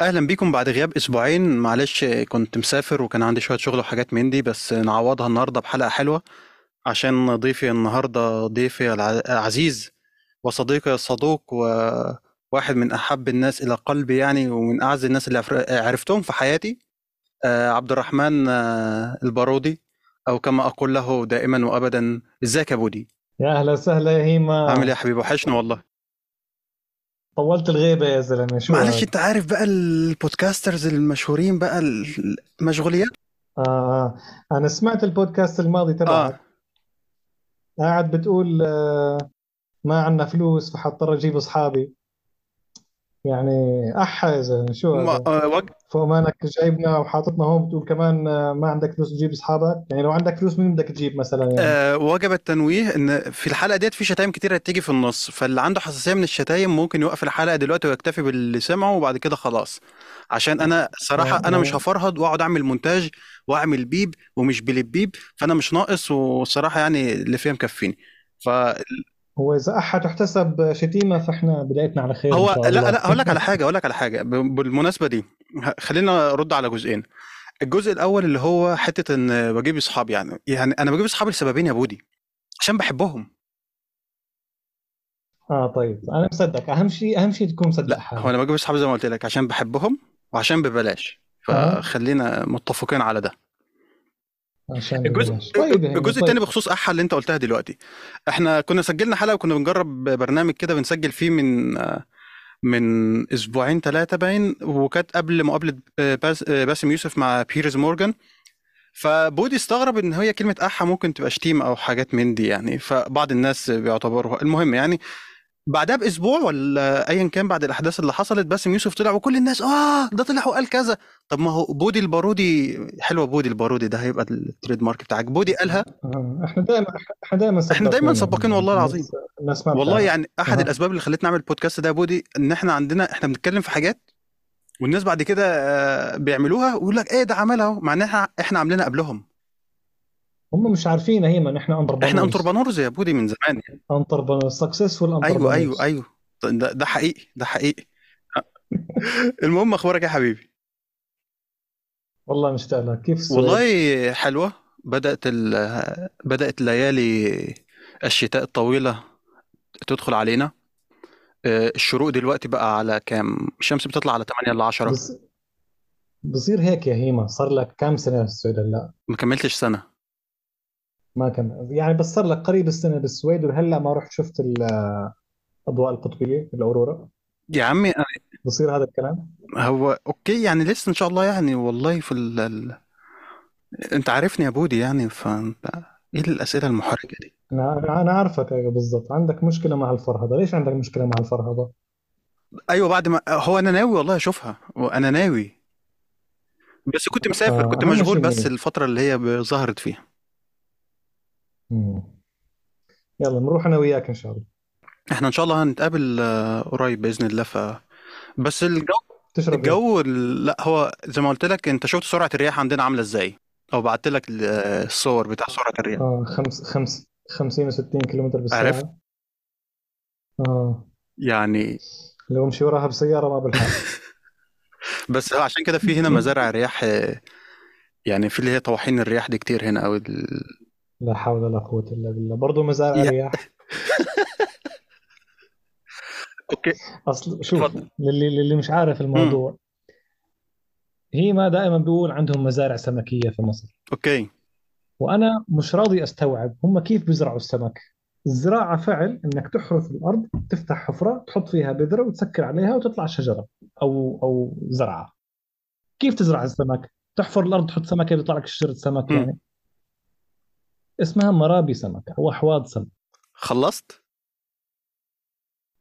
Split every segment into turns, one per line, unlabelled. اهلا بيكم بعد غياب اسبوعين معلش كنت مسافر وكان عندي شويه شغل وحاجات من دي بس نعوضها النهارده بحلقه حلوه عشان ضيفي النهارده ضيفي الع- العزيز وصديقي الصدوق وواحد من احب الناس الى قلبي يعني ومن اعز الناس اللي عفر- عرفتهم في حياتي آه، عبد الرحمن آه، البارودي او كما اقول له دائما وابدا ازيك يا بودي
يا أهلا وسهلا
عامل
يا
ايه
هيما
يا حبيبي وحشني والله
طولت الغيبة يا زلمة شو
معلش
هاد
انت عارف بقى البودكاسترز المشهورين بقى المشغوليات
آه آه. أنا سمعت البودكاست الماضي
اه
تبعك قاعد بتقول آه ما عندنا فلوس فحضطر أجيب أصحابي يعني أحا يا زلمة شو
ما
هذا
آه، وج-
فوق ما إنك جايبنا وحاططنا هون بتقول كمان آه ما عندك فلوس تجيب أصحابك يعني لو عندك فلوس مين بدك تجيب مثلا يعني
آه، وجب التنويه ان في الحلقه ديت في شتايم كتير هتيجي في النص فاللي عنده حساسيه من الشتايم ممكن يوقف الحلقه دلوقتي ويكتفي باللي سمعه وبعد كده خلاص عشان انا صراحه
آه
انا مش
آه.
هفرهد واقعد اعمل مونتاج واعمل بيب ومش بلبيب فانا مش ناقص والصراحه يعني اللي فيها مكفيني فهو
هو إذا أحا تحتسب شتيمة فإحنا بدايتنا على خير إن شاء
لا
الله
لا هقول لك على حاجه هقول لك على حاجه ب- بالمناسبه دي ه- خلينا ارد على جزئين الجزء الاول اللي هو حته ان بجيب اصحابي يعني يعني انا بجيب اصحابي لسببين يا بودي عشان بحبهم
آه طيب أنا مصدق أهم شيء أهم شيء تكون مصدق
لا هو
حالك
انا بجيب اصحابي زي ما قلت لك عشان بحبهم وعشان ببلاش
أها
فخلينا متفقين على ده
عشان
الجزء
ببلاش طيب يا هيما
الجزء التاني
طيب
بخصوص احا اللي انت قلتها دلوقتي احنا كنا سجلنا حلقه وكنا بنجرب برنامج كده بنسجل فيه من من اسبوعين ثلاثه باين وكانت قبل مقابله باس- آه، باسم يوسف مع بيرز مورجان فبودي استغرب ان هي كلمه احا ممكن تبقى شتيمه او حاجات من دي يعني فبعض الناس بيعتبروها المهم يعني بعدها باسبوع ولا ايا كان بعد الاحداث اللي حصلت باسم يوسف طلع وكل الناس اه ده طلع وقال كذا طب ما هو بودي البارودي حلوه بودي البارودي ده هيبقى التريد مارك بتاعك بودي قالها
آه، احنا دائما احنا دائما
احنا دايما
سباقين
سباقين
يعني
والله العظيم
الناس الناس ما
والله
بتعرف
يعني احد
اها
الاسباب اللي خلتني اعمل البودكاست ده يا بودي ان احنا عندنا احنا بنتكلم في حاجات والناس بعد كده آه، بيعملوها ويقول لك ايه ده عملها أهو، مع ان احنا احنا عاملينها قبلهم
هم مش عارفين هيما نحن
احنا
انتربرنورز
انتربرنورز يا بودي من زمان يعني.
انتربرنورز سكسسفول
ايوه ايوه
انتربرنورز
ايوه ده, ده حقيقي ده حقيقي المهم اخبارك يا حبيبي
والله مشتاق لك كيف السويد؟
والله حلوة بدأت ال... بدأت ليالي الشتاء الطويلة تدخل علينا آه، الشروق دلوقتي بقى على كام الشمس بتطلع على 8 ل 10
بس بصير هيك يا هيما صار لك كم سنة في السويد هلا؟
ما كملتش سنة
ما كان يعني بس صار لك قريب السنة بالسويد وهلا ما رحت شفت الأضواء القطبية الأورورا
يا عمي أنا-
بصير هذا الكلام؟
هو اوكي يعني لسه ان شاء الله يعني والله في ال... ال... انت عارفني يا بودي يعني فانت ايه الأسئلة المحرجة دي
أنا أنا أنا عارفك أيوة بالضبط عندك مشكلة مع الفرهدة ليش عندك مشكلة مع الفرهدة؟
ايوه بعد ما هو انا ناوي والله اشوفها انا ناوي بس كنت مسافر
آه،
كنت
أهم
مشغول
شيء
بس
النية
الفترة اللي هي ب- ظهرت فيها
مم. يلا نروح انا وياك ان شاء الله
احنا ان شاء الله هنتقابل آه، قريب بإذن الله ف بس الجو
تشرب ايه
الجو ال- لا هو زي ما قلت لك انت شفت سرعة الرياح عندنا عاملة ازاي او بعت لك ال- الصور بتاع سرعة الرياح
اه خمس خمس 50 و60 كيلومتر
عرفت
بالساعة اه
يعني
لو امشي وراها بسيارة ما بلحق
بس هو عشان كده في هنا مزارع رياح آه، يعني في اللي هي طواحين الرياح دي كتير هنا او ال...
لا حول ولا قوة الا بالله برضه مزارع
يا
الرياح
اوكي
اصل شوف
اتفضل
للي, للي مش عارف
امم
الموضوع هي ما دائما بيقول عندهم مزارع سمكية في مصر
اوكي
وانا مش راضي استوعب هم كيف بيزرعوا السمك الزراعة فعل انك تحفر في الارض تفتح حفرة تحط فيها بذرة وتسكر عليها وتطلع شجرة او او زرعة كيف تزرع السمك؟ تحفر الارض تحط سمكه بيطلع لك شجره سمك
امم
يعني اسمها مرابي سمك او احواض سمك
خلصت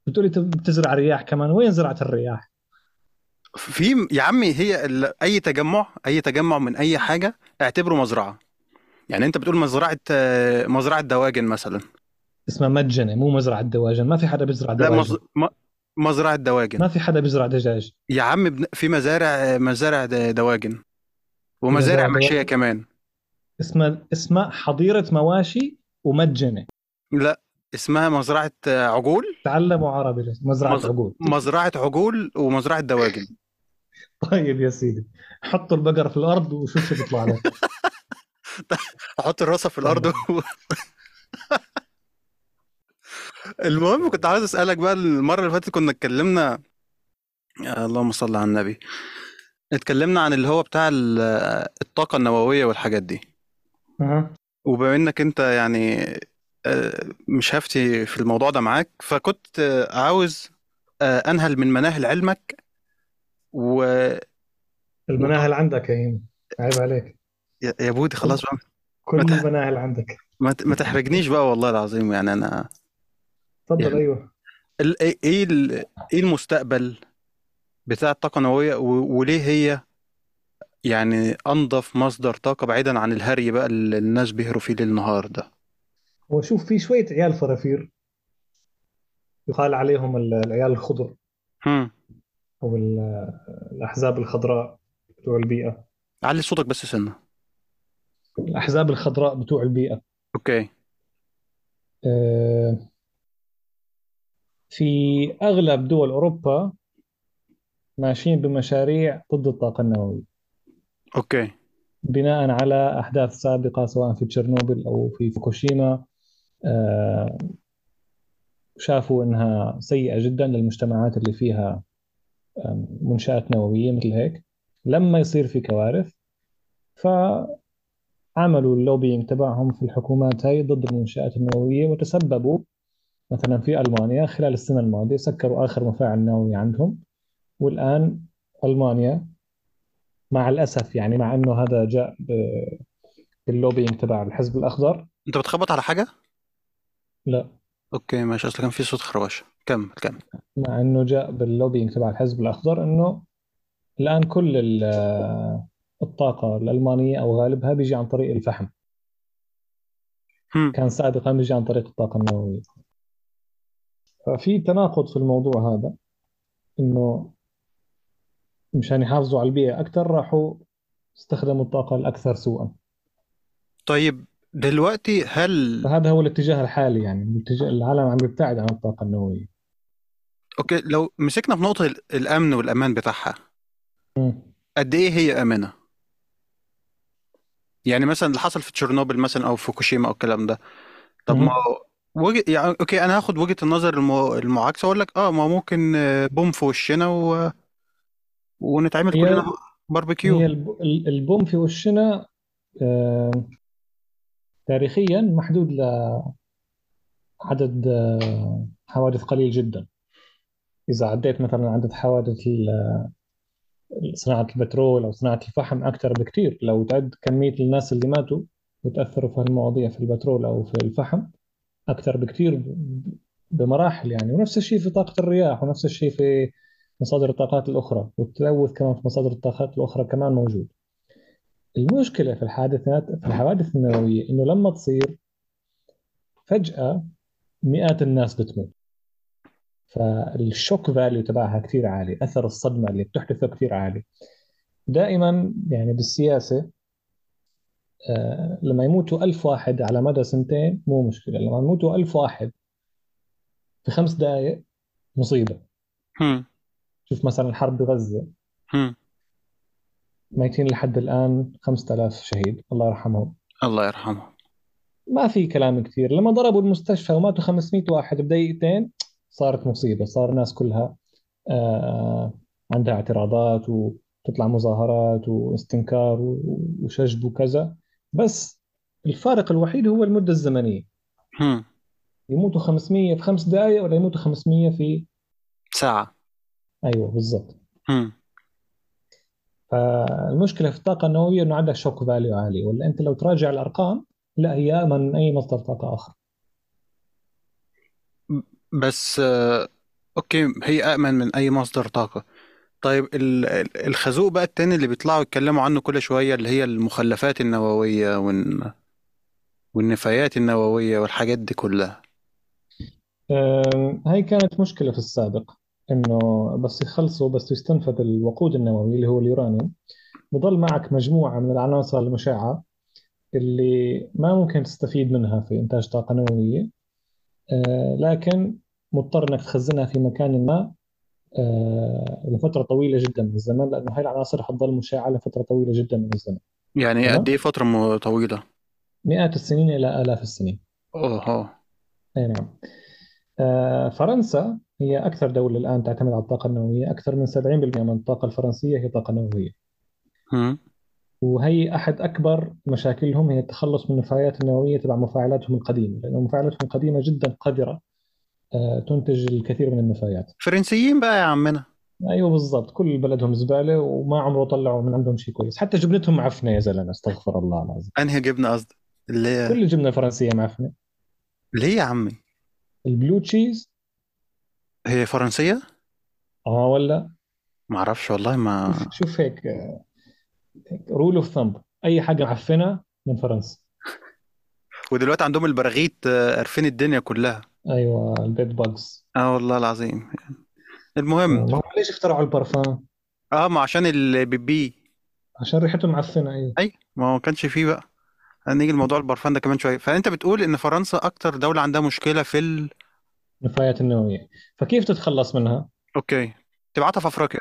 بتقولي تب- بتزرع رياح كمان وين زرعت الرياح؟
في يا عمي هي ال... اي تجمع اي تجمع من اي حاجة اعتبره مزرعة يعني انت بتقول مزرعة آه، مزرعة دواجن مثلا
اسمها مدجنه مو مزرعه دواجن ما في حدا بيزرع
لا مز...
دواجن
م... مزرعة دواجن
ما في حدا بيزرع دجاج
يا عم بن- في مزارع مزارع د- دواجن
في
ومزارع
مزارع
محشية
دواجن
كمان
اسمها اسمها حظيره مواشي ومدجنه
لا اسمها مزرعة عجول
تعلموا عربي ليش؟ مزرعه
مز...
عقول
مزرعة عجول ومزرعة دواجن
طيب يا سيدي حطوا البقر في الارض وشوف شو بيطلع لك
احط الراسه في الارض و... المهم كنت عايز اسالك بقى المره اللي فاتت كنا اتكلمنا يا اللهم صل على النبي اتكلمنا عن اللي هو بتاع ال- الطاقه النوويه والحاجات دي
أها.
وبما انك انت يعني آه، مش هفتي في الموضوع ده معاك فكنت آه، عاوز آه، انهل من مناهل علمك ويا
المناهل عندك يا هيم عيب عليك
يا بودي خلاص بقى ما
كل
تح-
المناهل عندك
ما ت- ما تحرجنيش بقى والله العظيم يعني انا
تفضل
يعني
ايوه
ال- ايه إيه ال- إيه المستقبل بتاع الطاقه النوويه و- وليه هي يعني انظف مصدر طاقه بعيدا عن الهري بقى اللي الناس بيهروا فيه ليل نهار ده
هو شوف في شويه عيال فرافير يقال عليهم ال- العيال الخضر
هم.
او ال- الاحزاب الخضراء بتوع البيئه
علي صوتك بس سنه
الاحزاب الخضراء بتوع البيئه
اوكي
آه، في اغلب دول اوروبا ماشيين بمشاريع ضد الطاقه النوويه
اوكي
بناء على احداث سابقه سواء في تشيرنوبل او في فوكوشيما آه، شافوا انها سيئه جدا للمجتمعات اللي فيها آم، منشات نوويه مثل هيك لما يصير في كوارث فعملوا اللوبينج تبعهم في الحكومات هاي ضد المنشات النوويه وتسببوا مثلا في المانيا خلال السنه الماضيه سكروا اخر مفاعل نووي عندهم والان المانيا مع الاسف يعني مع انه هذا جاء ب- باللوبينج تبع الحزب الاخضر
انت بتخبط على حاجه
لا
اوكي ماشي اصل كان في صوت خروشه كمل كمل
مع انه جاء باللوبينج تبع الحزب الاخضر انه الان كل ال- الطاقه الالمانيه او غالبها بيجي عن طريق الفحم
هم.
كان سابقا بيجي عن طريق الطاقه النوويه ففي تناقض في الموضوع هذا انه مشان يحافظوا على البيئه اكثر راحوا استخدموا الطاقه الاكثر سوءا
طيب دلوقتي هل
فهذا هو الاتجاه الحالي يعني الاتجاه العالم عم بيبتعد عن الطاقه النوويه
اوكي لو مسكنا في نقطه ال- الامن والامان بتاعها
مم.
قد ايه هي امنه يعني مثلا اللي حصل في تشيرنوبل مثلا او فوكوشيما او الكلام ده طب ما
مم.
هو وجه... يعني اوكي انا هاخد وجهة النظر الم... المعاكسة واقول لك اه ما ممكن آه، بوم في وشنا و... ونتعمل كلنا
هي
باربيكيو
هي الب- ال- البوم في وشنا آه، تاريخيا محدود لعدد آه، حوادث قليل جدا إذا عديت مثلا عدد حوادث ال- صناعة البترول أو صناعة الفحم أكثر بكثير لو تعد كمية الناس اللي ماتوا وتأثروا في هالمواضيع في البترول أو في الفحم أكثر بكثير بمراحل يعني ونفس الشيء في طاقة الرياح ونفس الشيء في مصادر الطاقات الأخرى والتلوث كمان في مصادر الطاقات الأخرى كمان موجود المشكلة في الحادثات في الحوادث النووية إنه لما تصير فجأة مئات الناس بتموت فالشوك فاليو تبعها كثير عالي أثر الصدمة اللي بتحدثه كثير عالي دائما يعني بالسياسة آه، لما يموتوا ألف واحد على مدى سنتين مو مشكلة لما يموتوا ألف واحد في خمس دقائق مصيبة
هم
شوف مثلا حرب غزة
هم
ميتين لحد الآن 5000 شهيد الله يرحمهم
الله يرحمه
ما في كلام كثير لما ضربوا المستشفى وماتوا 500 واحد بدقيقتين صارت مصيبة صار الناس كلها آه، عندها اعتراضات وتطلع مظاهرات واستنكار و- وشجب وكذا بس الفارق الوحيد هو المدة الزمنية
هم
يموتوا 500 في خمس دقائق ولا يموتوا 500 في
ساعة
ايوه بالضبط
هم
فالمشكله في الطاقه النوويه انه عندها شوك فاليو عالي ولا انت لو تراجع الارقام لا هي امن من اي مصدر طاقه اخر
بس آه، اوكي هي أأمن من أي مصدر طاقة طيب ال- ال- الخازوق بقى التاني اللي بيطلعوا يتكلموا عنه كل شوية اللي هي المخلفات النووية والن... والنفايات النووية والحاجات دي كلها
أم، هاي كانت مشكله في السابق انه بس يخلصوا بس يستنفذ الوقود النووي اللي هو اليورانيوم بضل معك مجموعه من العناصر المشعه اللي ما ممكن تستفيد منها في انتاج طاقه نوويه أه، لكن مضطر انك تخزنها في مكان ما آه، لفتره طويله جدا من الزمن لانه هاي العناصر حتضل مشعه لفتره طويله جدا من الزمن
يعني
تمام.
قد ايه فترة م- طويلة؟
مئات السنين الى الاف السنين
اوه
اي نعم آه، فرنسا هي اكثر دوله الان تعتمد على الطاقه النوويه اكثر من 70% من الطاقه الفرنسيه هي طاقه نوويه
هم.
وهي احد اكبر مشاكلهم هي التخلص من النفايات النوويه تبع مفاعلاتهم القديمه لانه مفاعلاتهم القديمه جدا قذره آه، تنتج الكثير من النفايات
فرنسيين بقى يا عمنا
ايوه بالضبط كل بلدهم زباله وما عمره طلعوا من عندهم شيء كويس حتى جبنتهم معفنه يا زلمه استغفر الله العظيم
انهي جبنة قصدي؟ ليه
كل الجبنه الفرنسيه معفنه
ليه يا عمي؟
البلو تشيز
هي فرنسية؟
اه ولا
معرفش والله ما
شوف شوف هيك رول اوف ثمب اي حاجه معفنه من فرنسا
ودلوقتي عندهم البراغيث آه، قارفين الدنيا كلها
ايوه البيت باجز
اه والله العظيم المهم
آه، ما هم ليش اخترعوا البرفان
اه ما عشان البيبي
عشان ريحته معفنه ايوه
اي ما هو كانش فيه بقى هنيجي لموضوع البرفان ده كمان شوية فانت بتقول ان فرنسا اكتر دولة عندها مشكلة في ال...
النفايات النوويه فكيف تتخلص منها؟
اوكي تبعتها في افريقيا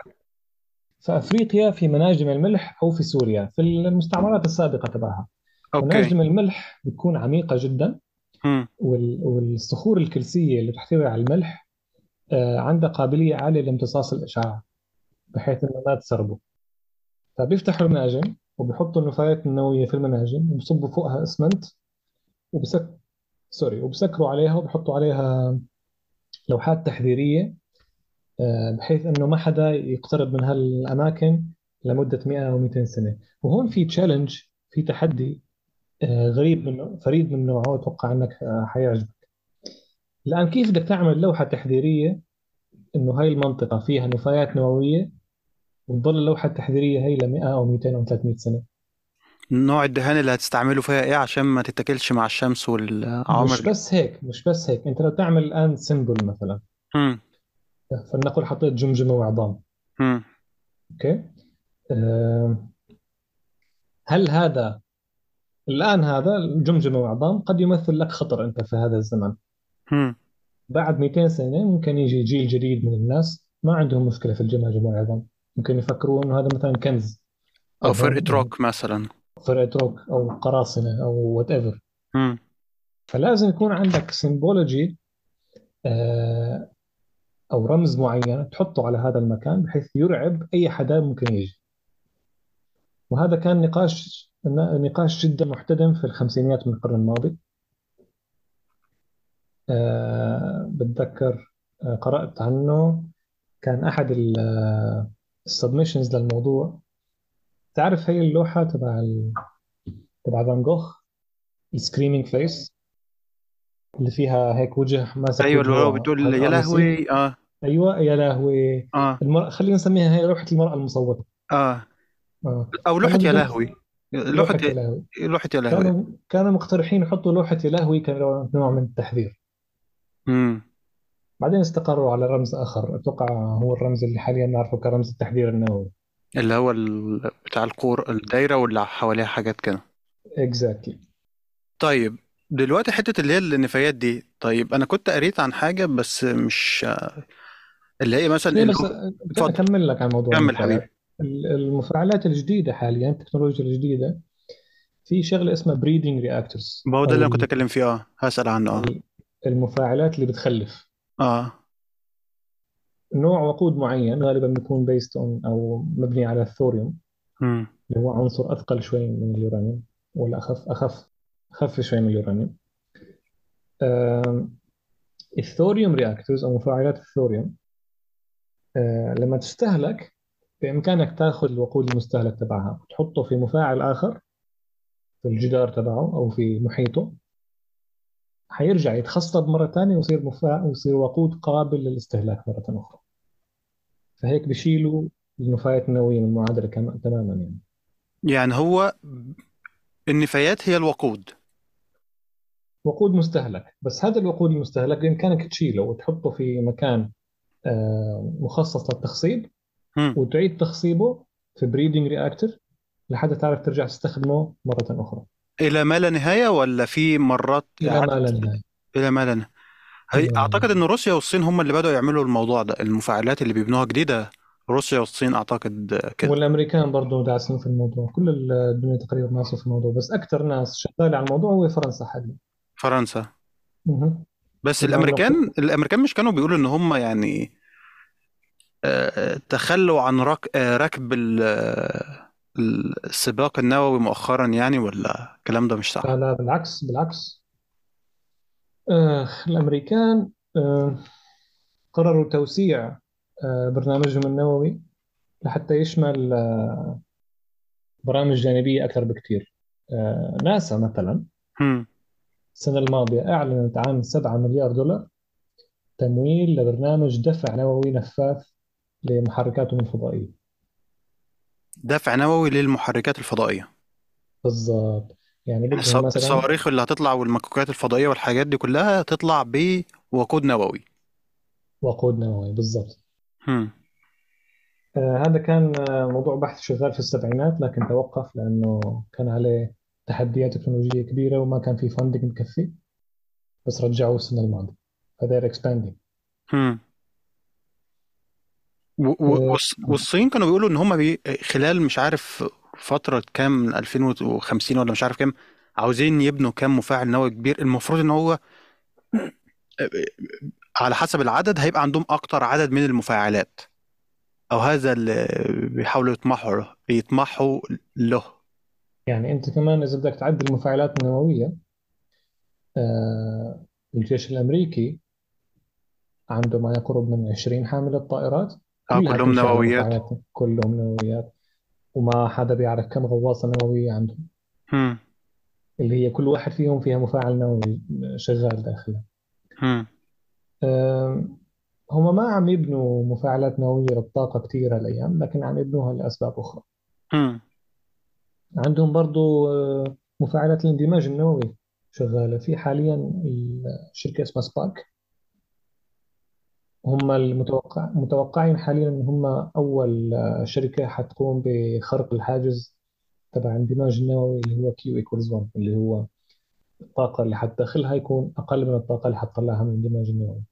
في افريقيا في مناجم الملح او في سوريا في المستعمرات السابقه تبعها
اوكي
مناجم الملح بتكون عميقه جدا
هم.
وال- والصخور الكلسيه اللي تحتوي على الملح آه، عندها قابليه عاليه لامتصاص الاشعاع بحيث انه ما تسربه فبيفتحوا المناجم وبيحطوا النفايات النوويه في المناجم وبصبوا فوقها اسمنت وبسك سوري وبسكروا عليها وبحطوا عليها لوحات تحذيريه آه، بحيث انه ما حدا يقترب من هالاماكن لمده 100 او 200 سنه وهون في تشالنج في تحدي آه، غريب من نوع- فريد من نوعه اتوقع انك آه، حيعجبك الان كيف بدك تعمل لوحه تحذيريه انه هاي المنطقه فيها نفايات نوويه وتضل اللوحه التحذيريه هي ل 100 او 200 او 300 سنه
نوع الدهان اللي هتستعمله فيها ايه عشان ما تتاكلش مع الشمس والعوامل
مش
دي
بس هيك مش بس هيك انت لو تعمل الان سيمبل مثلا
هم.
فلنقل حطيت جمجمه وعظام
هم.
اوكي آه، هل هذا الان هذا الجمجمه وعظام قد يمثل لك خطر انت في هذا الزمن
هم.
بعد 200 سنة ممكن يجي جيل جديد من الناس ما عندهم مشكلة في الجماجم والعظام ممكن يفكروا انه هذا مثلا كنز
او فرقة روك مثلا
فرقة روك او قراصنة او وات ايفر
هم.
فلازم يكون عندك آه، سيمبولوجي او رمز معين تحطه على هذا المكان بحيث يرعب اي حدا ممكن يجي وهذا كان نقاش نقاش جدا محتدم في الخمسينيات من القرن الماضي آه، بتذكر آه، قرأت عنه كان أحد السبمشنز للموضوع تعرف هي اللوحة تبع ال... تبع فان جوخ السكريمينج فيس اللي فيها هيك وجه ماسك
ايوه اللي هو
وجهه
بتقول
على
يا
الرمسي
لهوي اه
ايوه يا لهوي
اه
المر... خلينا نسميها هي لوحة المرأة المصوتة
اه
آه.
او لوحة
كانوا
يا
بدهم-
لهوي لوحة
لوحة يا لهوي
لوحة يا لهوي
كانوا كانوا مقترحين يحطوا لوحة يا لهوي كنوع نوع من التحذير
هم.
بعدين استقروا على رمز آخر أتوقع هو الرمز اللي حاليا نعرفه كرمز التحذير النووي
اللي هو ال... بتاع القور الدايرة واللي حواليها حاجات كده
اكزاكتلي
طيب دلوقتي حتة اللي هي النفايات دي طيب انا كنت قريت عن حاجة بس مش اللي هي مثلا
خليني
اللي
بس
هو
بدي
اتفضل
أكمل لك عن موضوع
كمل حبيبي
المفاعلات ال- المفاعلات الجديدة حاليا التكنولوجيا الجديدة في شغلة اسمها بريدنج رياكتورز
ما هو ده اللي
أو
انا كنت
ال-
اتكلم فيه اه هسأل عنه اه
ال- المفاعلات اللي بتخلف
اه
نوع وقود معين غالبا بيكون بيست اون أو مبني على الثوريوم
هم.
اللي هو عنصر أثقل شوي من اليورانيوم ولا أخف أخف أخف شوي من اليورانيوم آم، الثوريوم رياكتورز أو مفاعلات الثوريوم آه، لما تستهلك بإمكانك تاخذ الوقود المستهلك تبعها وتحطه في مفاعل آخر في الجدار تبعه أو في محيطه حيرجع يتخصب مرة ثانية ويصير مفاعل ويصير وقود قابل للاستهلاك مرة أخرى فهيك بشيلوا النفايات النووية من المعادلة كم- تماما يعني
يعني هو النفايات هي الوقود
وقود مستهلك بس هذا الوقود المستهلك بإمكانك تشيله وتحطه في مكان آه، مخصص للتخصيب
هم.
وتعيد تخصيبه في بريدنج رياكتور لحد تعرف ترجع تستخدمه مرة أخرى
إلى ما لا نهاية ولا في مرات
إلى ما
إعادة
لا نهاية
إلى ما لا نهاية هي اعتقد ان روسيا والصين هم اللي بدأوا يعملوا الموضوع ده المفاعلات اللي بيبنوها جديدة روسيا والصين اعتقد كده
والامريكان برضو داعسين في الموضوع كل الدنيا تقريبا ناقصه في الموضوع بس اكثر ناس شغاله على الموضوع هو فرنسا حاليا
فرنسا
مهم.
بس
الان لو
الامريكان الامريكان مش كانوا بيقولوا ان هم يعني آه، آه، تخلوا عن رك... آه، ركب ال... آه، السباق النووي مؤخرا يعني ولا الكلام ده مش
آه، لا
صح
لا بالعكس بالعكس آه الامريكان آه قرروا توسيع آه برنامجهم النووي لحتى يشمل آه برامج جانبيه اكثر بكثير آه ناسا مثلا
هم.
السنه الماضيه اعلنت عن 7 مليار دولار تمويل لبرنامج دفع نووي نفاث لمحركاتهم الفضائيه
دفع نووي للمحركات الفضائية
بالضبط يعني بدهم
الص-
مثلا
الصواريخ اللي هتطلع والمكوكات الفضائية والحاجات دي كلها تطلع بوقود نووي
وقود نووي بالضبط
هم.
آه، هذا كان آه، موضوع بحث شغال في السبعينات لكن توقف لأنه كان عليه تحديات تكنولوجية كبيرة وما كان في فندق مكفي بس رجعوه السنة الماضية فداير اكسباندينج
هم. و- و- والص- والصين كانوا بيقولوا ان هم بي... خلال مش عارف فترة كام من 2050 ولا مش عارف كام عاوزين يبنوا كام مفاعل نووي كبير المفروض ان هو آه، على حسب العدد هيبقى عندهم اكتر عدد من المفاعلات او هذا اللي بيحاولوا يطمحوا له يطمحوا له
يعني أنت كمان إذا بدك تعدل المفاعلات النووية آه، الجيش الأمريكي عنده ما يقرب من 20 حاملة طائرات
اه
كلها
كلهم
تمشي على
نوويات
مفاعلات كلهم نوويات وما حدا بيعرف كم غواصة نووية عندهم
هم
اللي هي كل واحد فيهم فيها مفاعل نووي شغال داخلها
هم
أم، هما ما عم يبنوا مفاعلات نووية للطاقة كثير هالأيام لكن عم يبنوها لأسباب أخرى
هم
عندهم برضو أه، مفاعلات الاندماج النووي شغالة في حاليا الشركة اسمها سباك هم المتوقع متوقعين حاليا إن هم أول أه، شركة حتقوم بخرق الحاجز تبع الاندماج النووي اللي هو كيو ايكوالز 1 اللي هو الطاقة اللي حتدخلها يكون أقل من الطاقة اللي حتطلعها من الاندماج النووي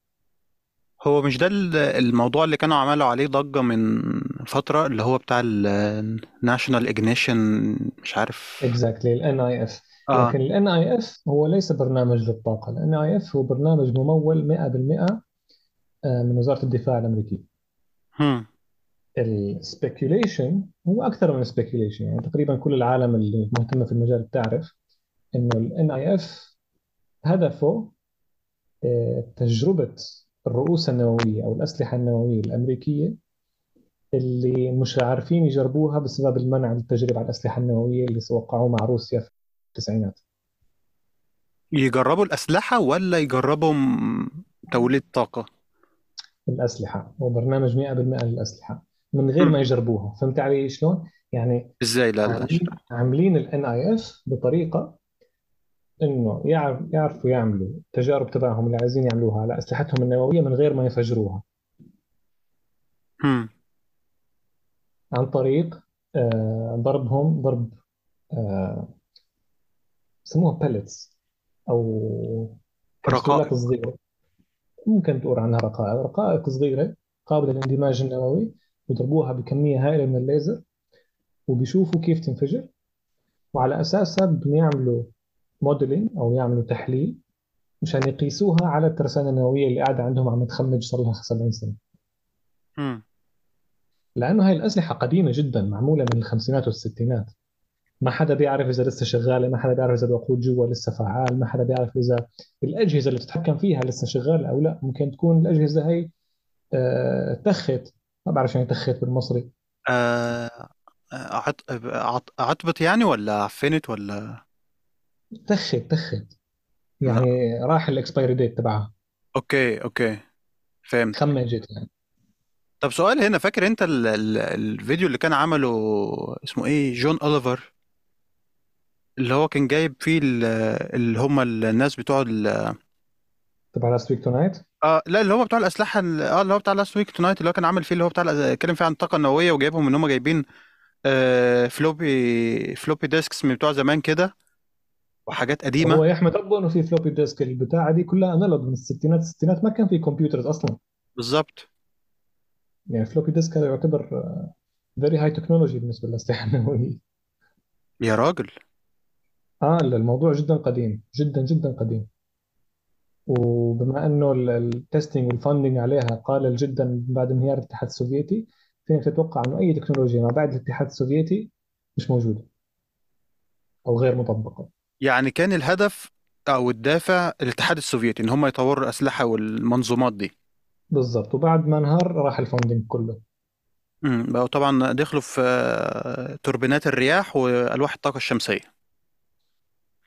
هو مش ده ال- الموضوع اللي كانوا عملوا عليه ضجة من فترة اللي هو بتاع الناشونال اجنيشن مش عارف
اكزاكتلي ال NIF
اه
لكن ال NIF هو ليس برنامج للطاقة ال NIF هو برنامج ممول 100% آه، من وزارة الدفاع الأمريكية
هم
السبيكيوليشن هو أكثر من سبيكيوليشن يعني تقريبا كل العالم اللي مهتمة في المجال بتعرف إنه ال NIF هدفه آه، تجربة الرؤوس النووية أو الأسلحة النووية الأمريكية اللي مش عارفين يجربوها بسبب المنع من التجربة على الأسلحة النووية اللي وقعوه مع روسيا في التسعينات
يجربوا الأسلحة ولا يجربوا م- توليد طاقة
الأسلحة هو برنامج 100% للأسلحة من غير
هم.
ما يجربوها فهمت علي شلون؟ يعني
ازاي لا لا
عاملين عاملين ال NIF بطريقة إنه يعرف يعرفوا يعملوا التجارب تبعهم اللي عايزين يعملوها على أسلحتهم النووية من غير ما يفجروها
هم
عن طريق آه، ضربهم ضرب آه، بسموها pellets أو كبسولات
رقائق
صغيرة ممكن تقول عنها رقائق رقائق صغيرة قابلة للاندماج النووي بيضربوها بكمية هائلة من الليزر وبيشوفوا كيف تنفجر وعلى أساسها بدهم يعملوا موديلينج أو يعملوا تحليل مشان يقيسوها على الترسانة النووية اللي قاعدة عندهم عم تخمج صار لها 70 سنة
هم
لأنه هاي الأسلحة قديمة جدا معمولة من الخمسينات والستينات ما حدا بيعرف إذا لسه شغالة ما حدا بيعرف إذا الوقود جوا لسه فعال ما حدا بيعرف إذا الأجهزة اللي بتتحكم فيها لسه شغالة أو لا ممكن تكون الأجهزة هاي آه، تخت ما بعرف شو يعني تخت بالمصري
آه عط... عط... عطبت يعني ولا عفنت ولا
تخت تخت
لا
يعني راح الاكسبايري ديت تبعها
اوكي اوكي فهمت
خمجت يعني
طب سؤال هنا فاكر انت ال... ال... الفيديو اللي كان عمله اسمه ايه جون اوليفر اللي هو كان جايب فيه ال... اللي هم الناس بتوع ال...
تبع لاست ويك تونايت
اه لا اللي هو بتوع الاسلحه ال- اه اللي هو بتاع لاست ويك تونايت اللي هو كان عامل فيه اللي هو بتاع الأ- اتكلم فيه عن الطاقه النوويه وجايبهم ان هم جايبين آه فلوبي فلوبي ديسكس من بتوع زمان كده وحاجات قديمه
هو يا احمد ابو انه في فلوبي ديسك البتاعه دي كلها انالوج من الستينات الستينات ما كان في كمبيوترز اصلا
بالظبط
يعني فلوبي ديسك هذا يعتبر آه، فيري هاي تكنولوجي بالنسبه للاستعمال
يا راجل
اه لا، الموضوع جدا قديم جدا جدا قديم وبما انه التستنج والفاندنج عليها قلل جدا بعد انهيار الاتحاد السوفيتي فينك تتوقع انه اي تكنولوجيا ما بعد الاتحاد السوفيتي مش موجوده او غير مطبقه
يعني كان الهدف او الدافع الاتحاد السوفيتي ان هم يطوروا الاسلحه والمنظومات دي
بالضبط وبعد ما انهار راح الفاندنج كله
امم بقوا طبعا دخلوا في آه، توربينات الرياح والواح الطاقه الشمسيه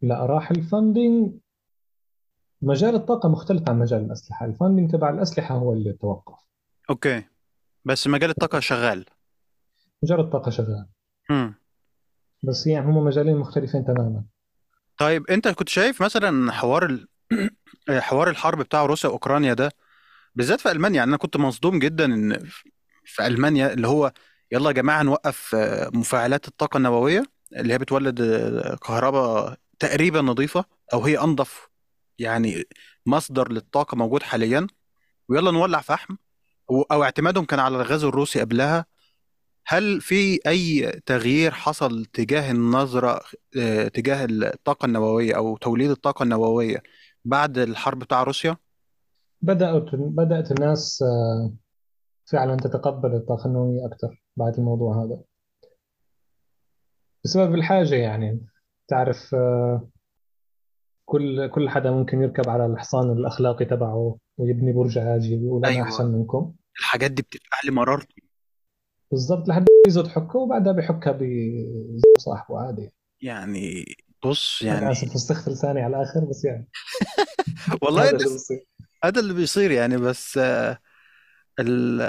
لا راح الفاندنج مجال الطاقه مختلف عن مجال الاسلحه الفاندنج تبع الاسلحه هو اللي توقف
اوكي بس مجال الطاقه شغال
مجال الطاقه شغال
امم
بس يعني هم مجالين مختلفين تماما
طيب انت كنت شايف مثلا حوار ال... حوار الحرب بتاع روسيا واوكرانيا ده بالذات في المانيا يعني انا كنت مصدوم جدا ان في المانيا اللي هو يلا يا جماعه نوقف آه، مفاعلات الطاقه النوويه اللي هي بتولد آه، كهرباء تقريبا نظيفه او هي انظف يعني مصدر للطاقه موجود حاليا ويلا نولع فحم و- او اعتمادهم كان على الغاز الروسي قبلها هل في اي تغيير حصل تجاه النظره آه، تجاه الطاقه النوويه او توليد الطاقه النوويه بعد الحرب بتاع روسيا
بدات بدات الناس آه، فعلا تتقبل الطاقه النوويه اكثر بعد الموضوع هذا بسبب الحاجه يعني تعرف آه، كل كل حدا ممكن يركب على الحصان الاخلاقي تبعه ويبني برج عاجي ويقول انا
ايوه
احسن منكم
الحاجات دي بتدفع لي مرارتي
بالضبط لحد يزود حكه وبعدها بيحكها ب- بصاحبه عادي
يعني بص
انا
يعني
اسف فسخت لساني على الاخر بس يعني
والله
هذا
ده
شو بصير
هذا اللي بيصير يعني بس آه، ال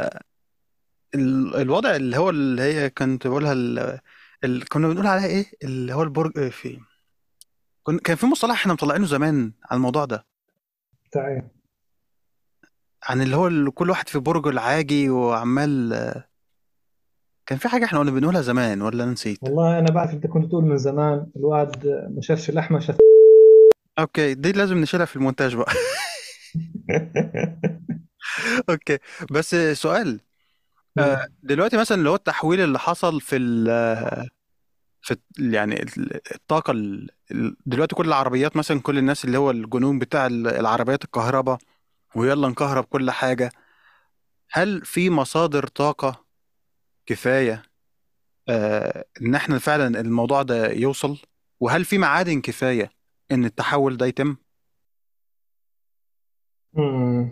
ال الوضع اللي هو اللي هي كنت بقولها ال ال كنا بنقول عليها ايه اللي هو البرج آه، في كن كان في مصطلح احنا مطلعينه زمان على الموضوع ده
بتاع إيه؟
عن اللي هو ال- كل واحد في برجه العاجي وعمال آه، كان في حاجة احنا كنا بنقولها زمان ولا أنا نسيت
والله انا بعرف انت كنت تقول من زمان الواد ما شافش اللحمه شاف
اوكي دي لازم نشيلها في المونتاج بقى اوكي بس آه، سؤال آه، دلوقتي مثلا اللي هو التحويل اللي حصل في ال في ال- يعني ال- الطاقة ال- ال- دلوقتي كل العربيات مثلا كل الناس اللي هو الجنون بتاع ال- العربيات الكهرباء ويلا نكهرب كل حاجة هل في مصادر طاقة كفاية آه إن احنا فعلا الموضوع ده يوصل وهل في معادن كفاية إن التحول ده يتم؟
أمم.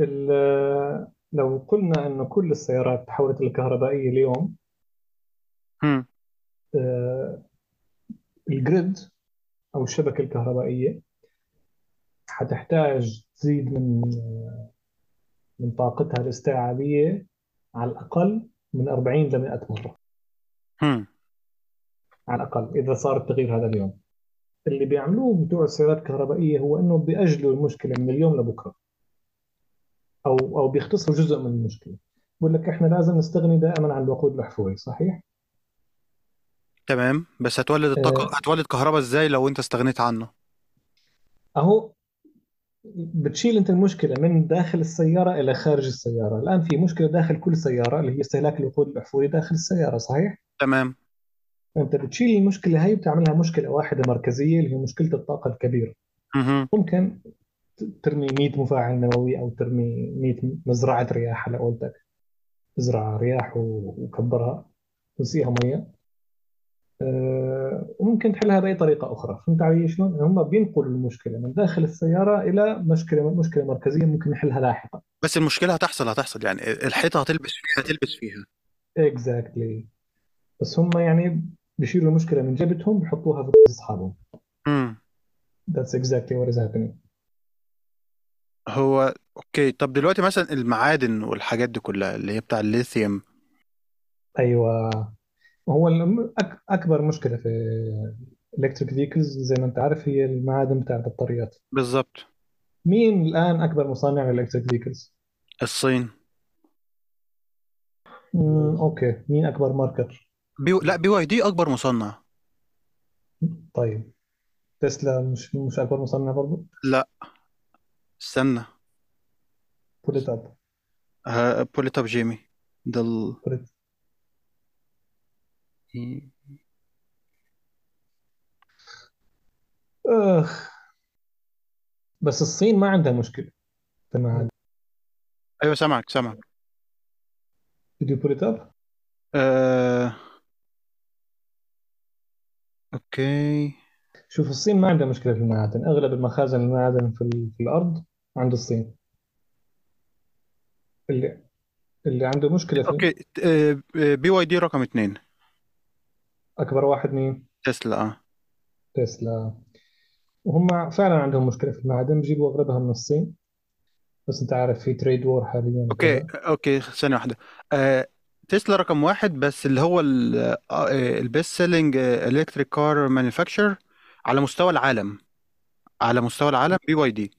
ال- لو قلنا انه كل السيارات تحولت للكهربائيه اليوم
هم
آه، الجريد او الشبكه الكهربائيه حتحتاج تزيد من آه، من طاقتها الاستيعابيه على الاقل من 40 ل 100 مره
هم
على الاقل اذا صار التغيير هذا اليوم اللي بيعملوه بتوع السيارات الكهربائيه هو انه بيأجلوا المشكله من اليوم لبكره او او بيختصروا جزء من المشكله بقول لك احنا لازم نستغني دائما عن الوقود الأحفوري صحيح؟
تمام بس هتولد الطاقة
آه،
هتولد كهرباء إزاي لو أنت استغنيت عنه؟
اهو بتشيل انت المشكله من داخل السياره الى خارج السياره، الان في مشكله داخل كل سياره اللي هي استهلاك الوقود الاحفوري داخل السياره صحيح؟
تمام
فانت بتشيل المشكله هي بتعملها مشكله واحده مركزيه اللي هي مشكله الطاقه الكبيره،
مهم.
ممكن ت- ترمي 100 مفاعل نووي او ترمي 100 مزرعه رياح على قولتك، ازرع رياح و- وكبرها وسقيها ميه آه، وممكن تحلها بأي طريقة أخرى فهمت علي شلون؟ يعني هم بينقلوا المشكلة من داخل السيارة إلى مشكلة مشكلة مركزية ممكن نحلها لاحقا
بس المشكلة هتحصل هتحصل يعني الحيطة هتلبس فيها هتلبس فيها
اكزاكتلي بس هم يعني بيشيلوا المشكلة من جيبتهم بيحطوها في أصحابهم
هم.
That's exactly what is happening
هو اوكي طب دلوقتي مثلا المعادن والحاجات دي كلها اللي هي بتاع الليثيوم
أيوة هو الم- أك- أكبر مشكلة في electric vehicles زي ما أنت عارف هي المعادن بتاع البطاريات
بالظبط
مين الآن أكبر مصنع للإلكتريك vehicles؟
الصين
مم، أوكي مين أكبر ماركت؟
بيو... لا بي واي دي اكبر مصنع
طيب تسلا مش مش اكبر مصنع برضه
لا استنى
بول ات اب
بول اب جيمي ده ال...
اخ بس الصين ما عندها مشكله تمام
ايوه سامعك سامعك
فيديو بول ات اب
أه... اوكي
شوف الصين ما عندها مشكله في المعادن اغلب المخازن المعادن في, ال- في الارض عند الصين اللي اللي عنده مشكله في
اوكي آه، بي واي دي رقم اتنين
اكبر واحد مين
تسلا اه
تسلا وهم فعلا عندهم مشكله في المعادن بيجيبوا اغلبها من الصين بس انت عارف في تريد وور حاليا
اوكي
وكذا
اوكي ثانية واحدة آه، تسلا رقم واحد بس اللي هو آه، البيست سيلينج الكتريك كار مانيفاكتشر على مستوى العالم على مستوى العالم بي واي دي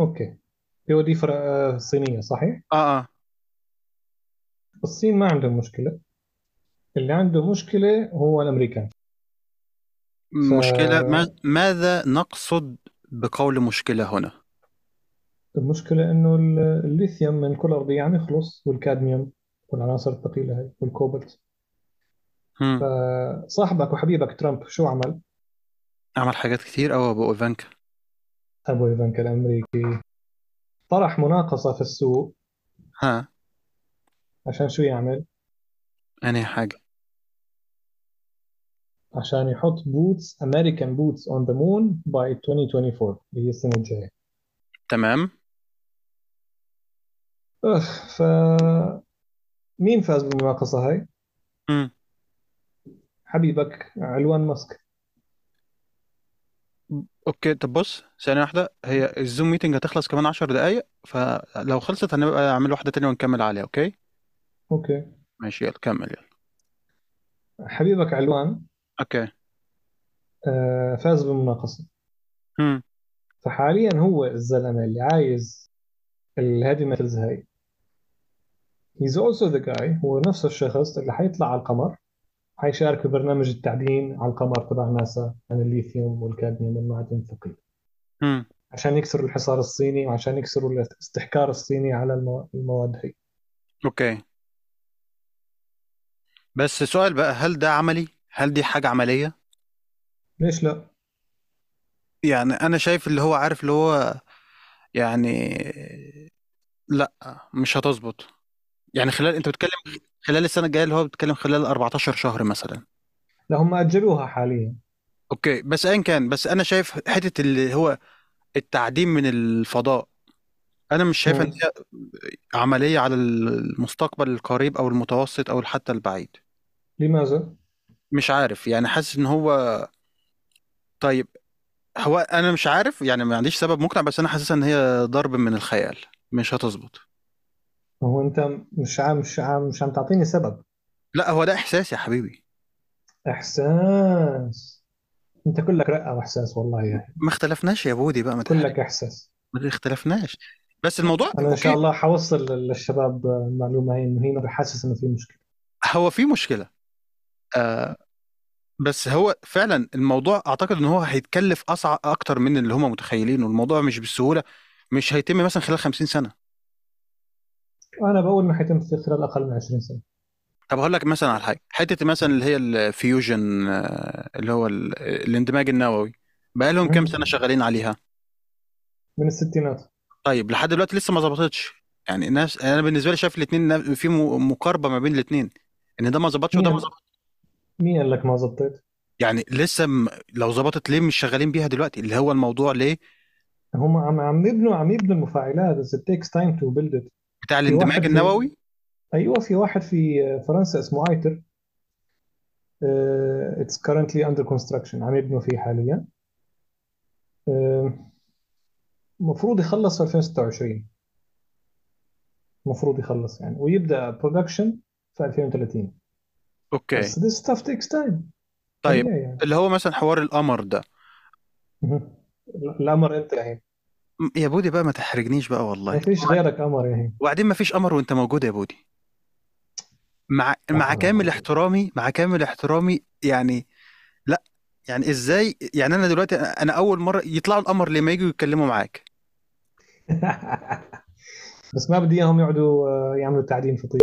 اوكي هو دي فرق آه، صينيه صحيح
اه اه
الصين ما عندهم مشكله اللي عنده مشكله هو الامريكان ف
مشكلة ما ماذا نقصد بقول مشكلة هنا
المشكلة إنه ال- الليثيوم من كل أرضية عم يخلص والكادميوم والعناصر الثقيلة هاي والكوبلت
هم.
فصاحبك وحبيبك ترامب شو عمل؟
عمل حاجات كتير أوي أبو إيفانكا
أبو إيفانكا الأمريكي طرح مناقصة في السوق
ها
عشان شو يعمل؟
أنهي حاجة
عشان يحط بوتس أمريكان بوتس أون ذا مون باي 2024 اللي هي السنة الجاية
تمام
أخ فمين فاز بالمناقصة هاي؟
هم.
حبيبك علوان ماسك
اوكي طب بص ثانية واحدة هي الزوم ميتنج هتخلص كمان عشر دقايق فلو خلصت هنبقى نعمل واحدة تانية ونكمل عليها اوكي
أوكي
ماشي يلا كمل يلا
حبيبك علوان
اوكي
آه، فاز بالمناقصة
هم.
فحاليا هو الزلمة اللي عايز الهيفي ميتالز هاي he's also the guy هو نفس الشخص اللي حيطلع على القمر حيشارك في برنامج التعدين على القمر تبع ناسا عن الليثيوم والكادميوم والمعدن الثقيل
هم.
عشان يكسروا الحصار الصيني وعشان يكسروا الاستحكار الصيني على المو- المواد هي
اوكي بس سؤال بقى هل ده عملي هل دي حاجة عملية
ليش لا؟
يعني انا شايف اللي هو عارف اللي هو يعني لا مش هتظبط يعني خلال انت بتتكلم خلال السنة الجاية اللي هو بتتكلم خلال 14 شهر مثلا
لا هم أجلوها حاليا
اوكي بس ايا كان بس انا شايف حتة اللي هو التعديم من الفضاء انا مش شايف ان
مم.
هي عملية على المستقبل القريب او المتوسط او حتى البعيد
لماذا؟
مش عارف يعني حاسس ان هو طيب هو انا مش عارف يعني ما عنديش سبب مقنع بس انا حاسس ان هي ضرب من الخيال مش هتظبط
ما هو أنت مش عم مش عم مش عم تعطيني سبب
لا هو ده احساس يا حبيبي
إحساس انت كلك رقه واحساس والله يا اخي
ما اختلفناش يا بودي بقى ما تحرق
كلك احساس
ما اختلفناش بس الموضوع
انا ان شاء
اوكي
الله حوصل للشباب المعلومه هي انه هي ما بحسس انه في مشكله
هو في مشكلة آه بس هو فعلا الموضوع اعتقد ان هو هيتكلف اصعب اكتر من اللي هم متخيلينه الموضوع مش بالسهولة مش هيتم مثلا خلال 50 سنة
انا بقول انه حيتم في خلال اقل من 20 سنه
طب هقول لك مثلا على حاجة حتة مثلا اللي هي الفيوجن آه، اللي هو ال- الاندماج النووي بقى لهم كام
مم.
سنة شغالين عليها
من الستينات
طيب لحد دلوقتي لسه ما ظبطتش يعني الناس انا بالنسبة لي شايف الاتنين نا- في م- مقاربة ما بين الاتنين ان ده ما ظبطش
مين
وده ما
قال
ظبطش
مين قال لك ما زبطت
يعني لسه م... لو ظبطت ليه مش شغالين بيها دلوقتي اللي هو الموضوع ليه
هم عم عم يبنوا عم يبنوا المفاعلات بس it takes time to build it
بتاع
في
الاندماج
واحد في
النووي
ايوه في واحد في فرنسا اسمه ايتر آه، it's currently under construction عم يبنوا فيه حاليا آه، المفروض يخلص في 2026 المفروض يخلص يعني ويبدأ برودكشن في 2030
اوكي
بس this stuff takes time
طيب
طبيعي يعني
اللي هو مثلا حوار القمر ده
مهم. القمر انت يعني
م- يا بودي بقى ما تحرجنيش بقى
ما
والله
فيش غيرك قمر يعني
وبعدين ما فيش قمر وانت موجود يا بودي مع مع
آه.
كامل احترامي مع كامل احترامي يعني لا يعني ازاي يعني انا دلوقتي انا اول مره يطلعوا القمر لما يجوا يتكلموا معاك
بس ما بدي اياهم يقعدوا آه، يعملوا تعدين في طيب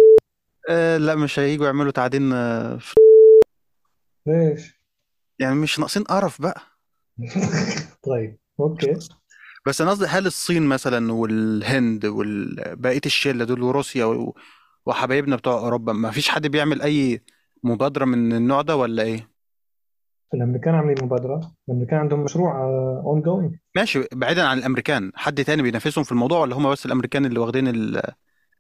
أه لا مش هيجوا يعملوا تعدين آه، في-
ليش؟
يعني مش ناقصين قرف بقى
طيب اوكي
بس انا قصدي هل الصين مثلا والهند وبقيه الشله دول وروسيا و- وحبايبنا بتوع اوروبا ما فيش حد بيعمل اي مبادره من النوع ده ولا ايه
الامريكان عاملين مبادره الامريكان عندهم مشروع آه، اون جوينج
ماشي بعيدا عن الامريكان حد تاني بينافسهم في الموضوع ولا هم بس الامريكان اللي واخدين ال-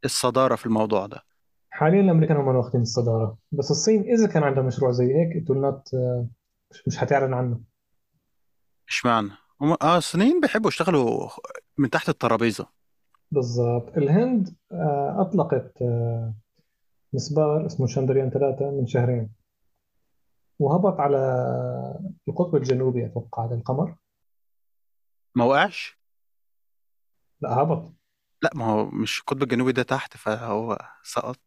الصداره في الموضوع ده
حاليا الامريكان هم اللي واخدين الصداره بس الصين اذا كان عندها مشروع زي هيك it will not آه، مش- مش حتعلن عنه
اشمعنى هم اه الصينيين بيحبوا يشتغلوا من تحت الترابيزه
بالضبط الهند آه، اطلقت آه، مسبار اسمه شاندريان ثلاثة من شهرين وهبط على القطب الجنوبي اتوقع على القمر
ما وقعش
لا هبط
لا ما هو مش القطب الجنوبي ده تحت فهو سقط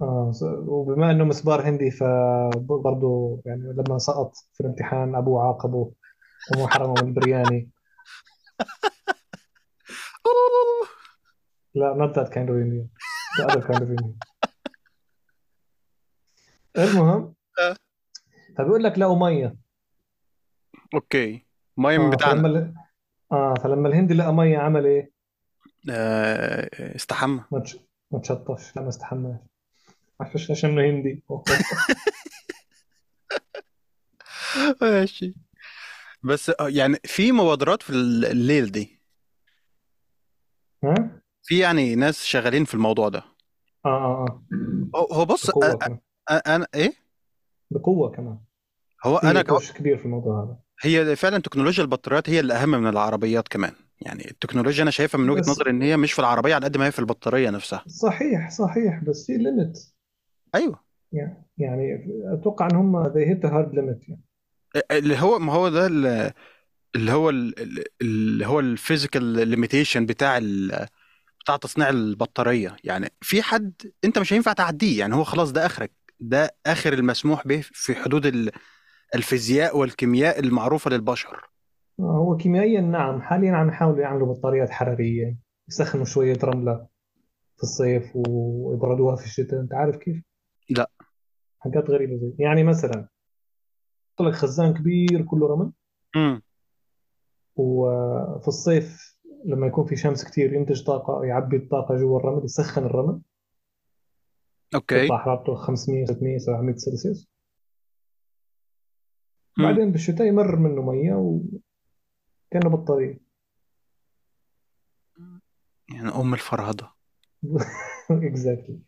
آه، وبما انه مسبار هندي فبرضه يعني لما سقط في الامتحان ابوه عاقبه وما حرمه من البرياني لا not that kind of Indian the other kind of Indian المهم
آه.
فبيقول لك لقوا ميه
اوكي ميه من
اه
بتاعنا
فلما اه فلما الهندي لقى ميه عمل ايه؟
آه استحمى
ما تش- ما تشطش لا ما استحماش عشان عشان انه هندي
ماشي بس آه، يعني في مبادرات في الليل دي
ها؟
في يعني ناس شغالين في الموضوع ده
اه اه اه
هو هو بص أ-
بقوه
أ-
كمان
أ- انا ايه
بقوه كمان
هو
في
انا ك-
بوش كبير في الموضوع هذا
هي فعلا تكنولوجيا البطاريات هي اللي اهم من العربيات كمان يعني التكنولوجيا انا شايفها من وجهة
بس
نظري ان هي مش في العربية على قد ما هي في البطارية نفسها
صحيح صحيح بس في ليميت
ايوه
يعني يعني اتوقع ان هم they hit the hard limit يعني
اللي هو ما هو ده اللي اللي هو ال- ال- اللي هو الفيزيكال ليميتيشن بتاع ال- بتاع تصنيع البطارية يعني في حد انت مش هينفع تعديه يعني هو خلاص ده اخرك ده اخر المسموح به في حدود ال- الفيزياء والكيمياء المعروفة للبشر
آه، هو كيميائيا نعم حاليا عم يحاولوا يعملوا بطاريات حراريه يسخنوا شويه رمله في الصيف ويبردوها في الشتاء انت عارف كيف
لا
حاجات غريبه زي يعني مثلا حط لك خزان كبير كله رمل
امم
وفي الصيف لما يكون في شمس كتير ينتج طاقة يعبي الطاقة جوا الرمل يسخن الرمل
اوكي
تطلع حرارته 500 600 700 سلسيوس
امم
بعدين بالشتاء يمر منه مية وكأنه بطارية
يعني ام الفرهدة
اكزاكتلي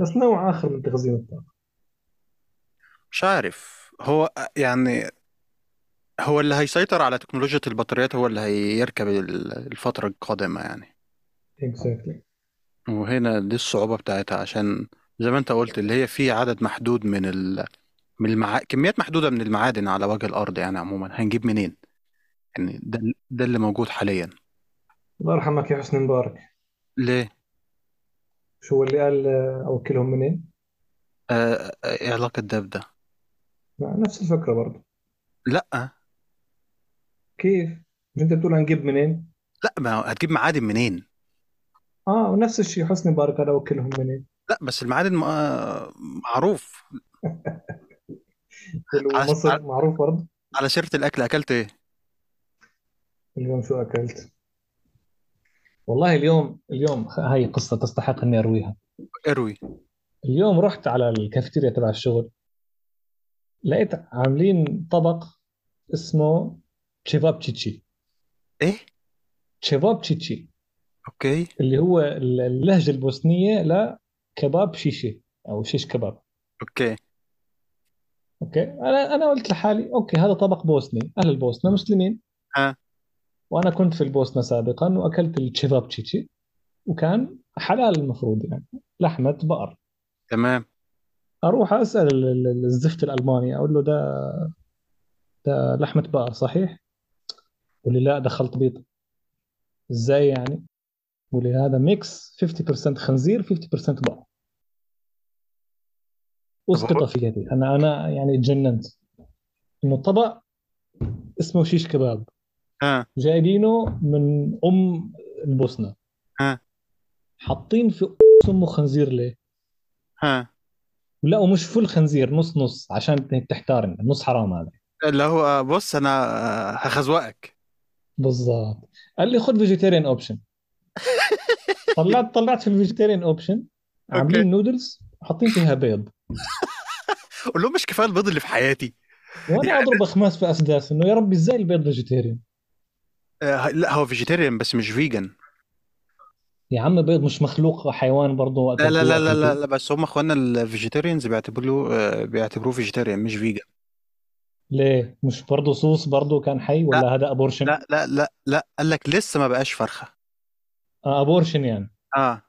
بس نوع آخر من تخزين الطاقة
مش عارف هو يعني هو اللي هيسيطر على تكنولوجيا البطاريات هو اللي هيركب ال- الفترة القادمة يعني
اكزاكتلي
وهنا دي الصعوبة بتاعتها عشان زي ما انت قلت اللي هي في عدد محدود من ال... من المع... كميات محدودة من المعادن على وجه الأرض يعني عموما هنجيب منين يعني ده ده اللي موجود حاليا
الله يرحمك يا حسني مبارك
ليه
شو اللي قال آه، أوكلهم منين؟
آه... آه، ايه علاقة ده بده
نفس الفكرة برضه
لا
كيف؟ مش أنت بتقول هنجيب منين؟
لا ما هو هتجيب معادن منين
آه ونفس الشيء حسني مبارك قال أوكلهم منين؟
لا بس المعادن م... آه، معروف على...
والمصري
على
معروف برضه
على سيرة الأكل أكلت ايه
اليوم شو أكلت؟ والله اليوم اليوم هاي قصة تستحق اني ارويها
اروي
اليوم رحت على الكافيتيريا تبع الشغل لقيت عاملين طبق اسمه تشيفابتشيتشي
ايه
تشيفابتشيتشي
اوكي
اللي هو ال- اللهجة البوسنية لكباب شيشي او شيش كباب
اوكي
اوكي انا انا قلت لحالي اوكي هذا طبق بوسني اهل البوسنة مسلمين
ها
وانا كنت في البوسنة سابقا واكلت التشيفابتشيتشي وكان حلال المفروض يعني لحمة بقر
تمام
اروح اسال ال- ال- الزفت الالماني اقول له ده ده لحمه بقر صحيح؟ يقول لي لا ده خلط بيض ازاي يعني؟ يقول لي هذا ميكس 50% خنزير 50% بقر اسقط في يدي انا انا يعني اتجننت انه طبق اسمه شيش كباب
ها
جايبينه من ام البوسنه
ها.
حاطين في امه خنزير ليه؟
ها
لا ومش فل خنزير نص نص عشان هيك تحتارن نص حرام هذا
اللي هو بص آه، انا هخزوقك
بالضبط قال لي خذ فيجيتيريان اوبشن طلعت طلعت في الفيجيتيريان اوبشن عاملين نودلز حاطين فيها بيض
قول لهم مش كفايه البيض اللي في حياتي
وانا اضرب اخماس في اسداس انه يا ربي ازاي البيض فيجيتيريان
آه، لا هو فيجيتيريان بس مش فيجن
يا عم بيض مش مخلوق حيوان برضه وقت
لا لا لا لا لا,
الجوع.
لا بس هم اخواننا الفيجيتيريانز بيعتبروه آه، بيعتبروه فيجيتيريان مش فيجن
ليه مش برضه صوص برضه كان حي ولا هذا ابورشن
لا لا لا لا قال لك لسه ما بقاش فرخه
آه ابورشن يعني
اه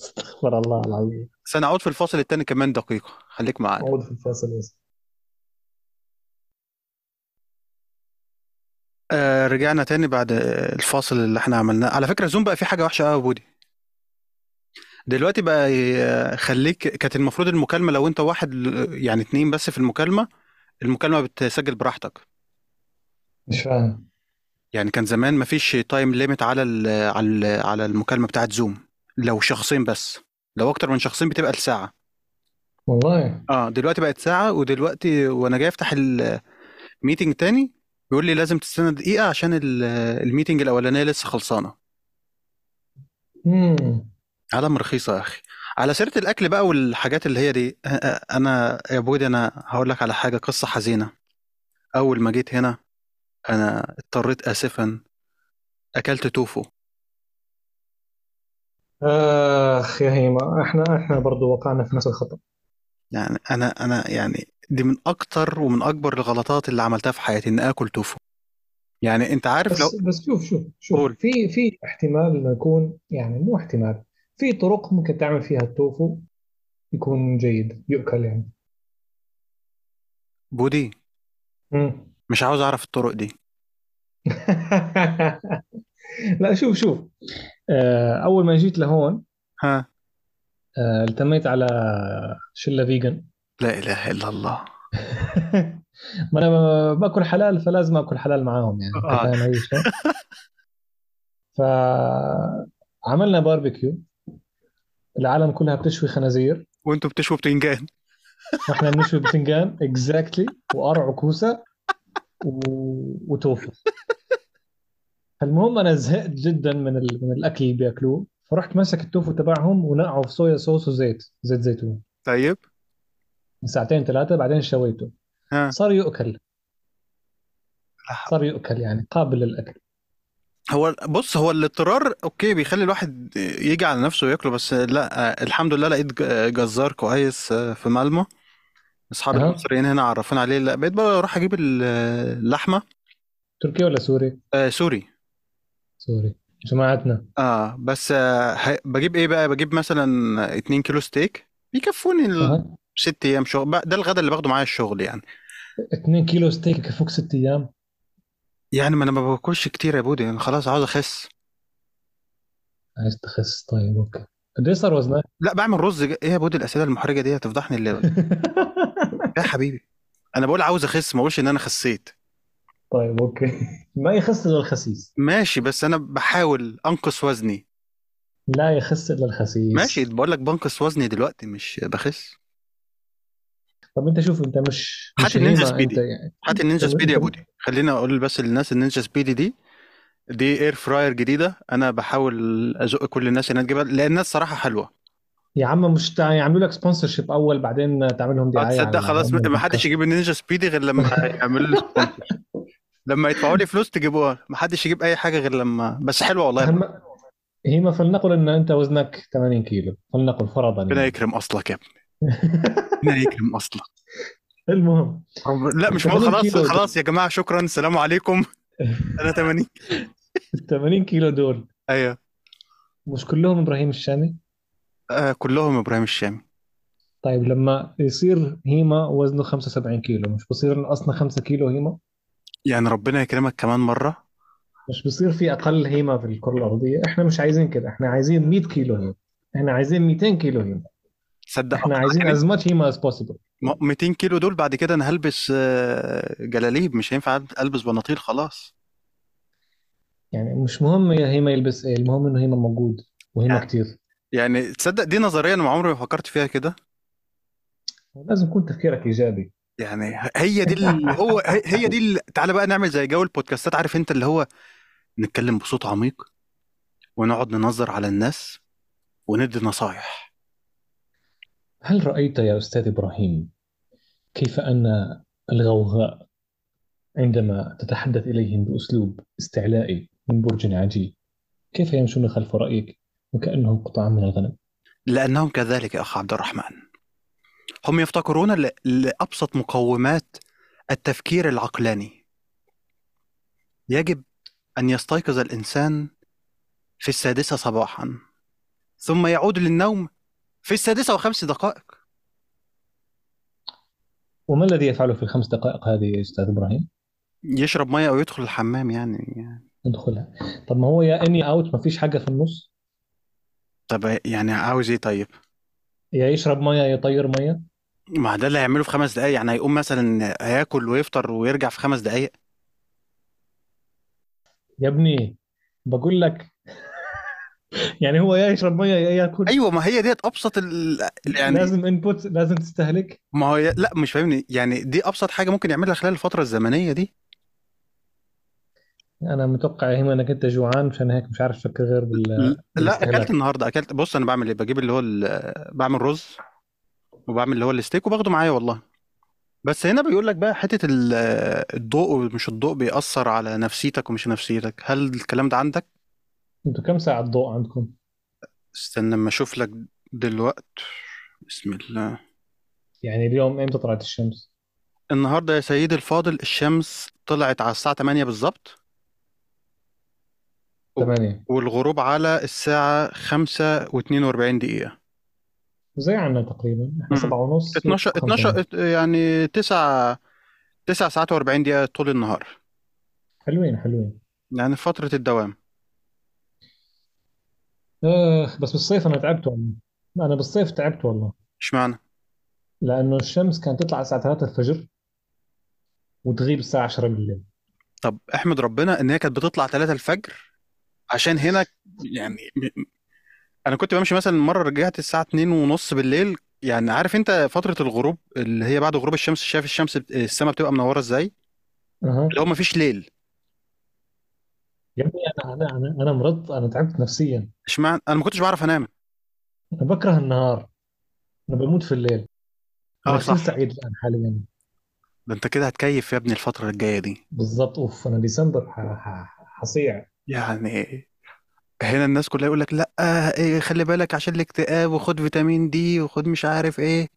استغفر الله العظيم
سنعود في الفاصل الثاني كمان دقيقه خليك معانا
عود في الفاصل يا زلمة.
آه رجعنا تاني بعد آه، الفاصل اللي احنا عملناه على فكرة زوم بقى في حاجة وحشة قوي يا بودي دلوقتي بقى يخليك كانت المفروض المكالمة لو انت واحد ل- يعني اتنين بس في المكالمة المكالمة بتسجل براحتك
مش فاهم
يعني كان زمان مفيش تايم ليميت على ال على ال على المكالمة بتاعت زوم لو شخصين بس لو اكتر من شخصين بتبقى الساعة
والله
اه دلوقتي بقت ساعة ودلوقتي وانا جاي افتح الميتنج تاني بيقول لي لازم تستنى دقيقة عشان ال- الميتنج الأولانية لسه خلصانة
امم
عالم رخيصة يا أخي على سيرة الأكل بقى والحاجات اللي هي دي أ- أ- أنا يا بودي أنا هقول لك على حاجة قصة حزينة أول ما جيت هنا أنا اضطريت آسفا أكلت توفو
اخ يا هيما احنا احنا برضه وقعنا في نفس الخطا
يعني أنا أنا يعني دي من أكتر ومن أكبر الغلطات اللي عملتها في حياتي إن آكل توفو يعني أنت عارف لو
بس بس شوف شوف شوف
قول.
في في احتمال انه يكون يعني مو احتمال في طرق ممكن تعمل فيها التوفو يكون جيد يؤكل يعني
بودي
مم.
مش عاوز أعرف الطرق دي
لا شوف شوف آه، اول ما جيت لهون
ها
آه، التميت على شله فيجن
لا إله إلا الله
ما انا باكل حلال فلازم اكل حلال معاهم يعني
آه.
أنت فاهم اي شيء فعملنا باربيكيو العالم كلها بتشوي خنازير
وأنتوا بتشووا بتنجان
واحنا بنشوي بتنجان اكزاكتلي وقرع وكوسه و... وتوفو المهم انا زهقت جدا من ال... من الاكل اللي بياكلوه فرحت ماسك التوفو تبعهم ونقعه في صويا صوص وزيت زيت زيتون
طيب
ساعتين ثلاثه بعدين شويته
ها
صار يؤكل
لا.
صار يؤكل يعني قابل للاكل
هو بص هو الاضطرار اوكي بيخلي الواحد يجي على نفسه وياكله بس لا آه، الحمد لله لقيت ج- جزار كويس آه، في مالمو اصحابي
أها.
المصريين هنا عرفونا عليه لا بقيت بروح اجيب ال- اللحمه
تركي ولا سوري؟
آه سوري
سوري جماعتنا
اه بس آه ه- بجيب ايه بقى بجيب مثلا 2 كيلو ستيك بيكفوني ال-
أها.
ست ايام شغل بقى- ده الغدا اللي باخده معايا الشغل يعني
2 كيلو ستيك يكفوك ست ايام
يعني ما انا ما باكلش كتير يا بودي انا خلاص عاوز اخس
عايز تخس طيب اوكي قد ايه صار وزنك؟
لا بعمل رز ج- ايه يا بودي الاسئله المحرجه دي هتفضحني اللي يا حبيبي انا بقول عاوز اخس ما بقولش ان انا خسيت
طيب اوكي ما يخس الا الخسيس
ماشي بس انا بحاول انقص وزني
لا يخس الا الخسيس
ماشي بقول لك بنقص وزني دلوقتي مش بخس
طب انت شوف انت مش
هات
مش
النينجا
هيما انت
سبيدي.
يعني
هات النينجا
طب
سبيدي يا
انت
بودي خلينا اقول بس للناس النينجا سبيدي دي دي اير فراير جديده انا بحاول ازق كل الناس انها تجيبها لانها الصراحه حلوه
يا عم مش تع... يعملوا لك سبونسر شيب اول بعدين تعمل لهم
اه
دعايه
تصدق
على
خلاص
ام
ما حدش
البودكاست
يجيب النينجا سبيدي غير لما يعملوا لي سبونسر لما يدفعوا لي فلوس تجيبوها ما حدش يجيب اي حاجه غير لما بس حلوه والله يا بودي.
اهم هيما فلنقل ان انت وزنك 80 كيلو فلنقل فرضا
ربنا
يعني
يكرم اصلك يا ابني ربنا يكرم اصلك
المهم
رب- لا مش
80
معقول خلاص
كيلو
خلاص يا جماعه شكرا السلام عليكم انا 80
ال 80 كيلو دول
ايوه
مش كلهم ابراهيم الشامي
آه كلهم ابراهيم الشامي
طيب لما يصير هيما وزنه 75 كيلو مش بصير نقصنا 5 كيلو هيما
يعني ربنا يكرمك كمان مره
مش بصير في اقل هيما في الكره الارضيه احنا مش عايزين كده احنا عايزين 100 كيلو هيما احنا عايزين 200 كيلو هيما
صدق
احنا عايزين as much هيما as possible
ما- 200 كيلو دول بعد كده انا هلبس آه، جلاليب مش هينفع البس بناطيل خلاص
يعني مش مهم يا هيما يلبس ايه المهم انه هيما موجود وهيما
يعني.
كتير
يعني تصدق دي نظرية انا عمري ما فكرت فيها كده
لازم يكون تفكيرك ايجابي
يعني هي دي اللي هو هي هي دي اللي تعالى بقى نعمل زي جو البودكاستات عارف انت اللي هو نتكلم بصوت عميق ونقعد ننظر على الناس وندي نصايح
هل رأيت يا أستاذ إبراهيم كيف أن الغوغاء عندما تتحدث إليهم بأسلوب استعلائي من برج عجيب كيف يمشون خلف رأيك وكأنهم قطعا من الغنم
لأنهم كذلك يا أخ عبد الرحمن هم يفتقرون ل- لأبسط مقومات التفكير العقلاني يجب أن يستيقظ الإنسان في السادسة صباحا ثم يعود للنوم في السادسة وخمس دقائق
وما الذي يفعله في الخمس دقائق هذه يا أستاذ إبراهيم
يشرب مية أو يدخل الحمام يعني
ندخلها طب ما هو يا إني أوت ما فيش حاجة في النص
طب يعني عاوز إيه طيب؟
يا يشرب مية يا يطير مية
ما ده اللي هيعمله في خمس دقايق يعني هيقوم مثلا هياكل ويفطر ويرجع في خمس دقايق
يا ابني بقول لك يعني هو يا يشرب مية يا ياكل
أيوه ما هي ديت أبسط ال... يعني
لازم انبوت لازم تستهلك
ما هو لا مش فاهمني يعني دي ابسط حاجه ممكن يعملها خلال الفتره الزمنيه دي
انا متوقع يا هيما انك انت جوعان عشان هيك مش عارف افكر غير بال
لا
بالاستهلاك.
اكلت النهارده اكلت بص انا بعمل ايه بجيب اللي هو ال- بعمل رز وبعمل اللي هو الستيك وباخده معايا والله بس هنا بيقول لك بقى حته ال- الضوء ومش الضوء بيأثر على نفسيتك ومش نفسيتك هل الكلام ده عندك
انتوا كم ساعة ضوء عندكم؟
استنى لما اشوف لك دلوقت بسم الله
يعني اليوم امتى طلعت الشمس؟
النهارده يا سيدي الفاضل الشمس طلعت على الساعه 8 بالظبط
8
والغروب على الساعه 5 و42 دقيقه
زي عنا تقريبا احنا
مم.
7 ونص
12 12 ات- يعني 9 9 ساعات و40 دقيقة طول النهار
حلوين حلوين
يعني فترة الدوام
اخ بس بالصيف انا تعبت والله انا بالصيف تعبت والله
اشمعنى
لانه الشمس كانت تطلع الساعة 3 الفجر وتغيب الساعة 10 بالليل
طب احمد ربنا ان هي كانت بتطلع 3 الفجر عشان هنا يعني م- انا كنت بمشي مثلا مرة رجعت الساعة 2 ونص بالليل يعني عارف انت فترة الغروب اللي هي بعد غروب الشمس شايف الشمس بت- السما بتبقى منورة ازاي
اها
اللي هو مفيش ليل
يا ابني انا انا انا انا مرضت انا تعبت نفسيا
اشمعنى انا ما كنتش بعرف انام
انا بكره النهار انا بموت في الليل
اه
انا كثير
صح
سعيد الان حاليا
ده انت كده هتكيف يا ابني الفترة الجاية دي
بالضبط اوف انا ديسمبر ح- ح- حصيع
يعني هنا الناس كلها يقول لك لا إيه خلي بالك عشان الاكتئاب وخد فيتامين دي وخد مش عارف ايه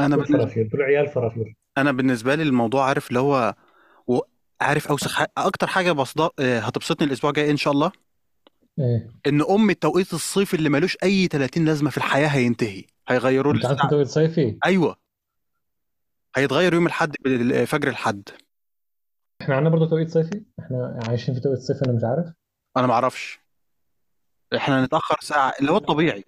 انا
دول
بالنسبة
فرافير دول عيال فرافير
انا بالنسبه لي الموضوع عارف اللي هو و- عارف اوسخ ح- اكتر حاجه بصد... آه، هتبسطني الاسبوع الجاي ان شاء الله
ايه
ان ام التوقيت الصيفي اللي ملوش اي 30 لازمه في الحياه هينتهي هيغيروا
انت عندك
للساعه
دوري صيفي
ايوه هيتغير يوم الاحد بال- آه، فجر الاحد
احنا عندنا برضه توقيت صيفي احنا عايشين في توقيت صيفي انا مش عارف
انا ما اعرفش احنا نتاخر ساعه اللي هو الطبيعي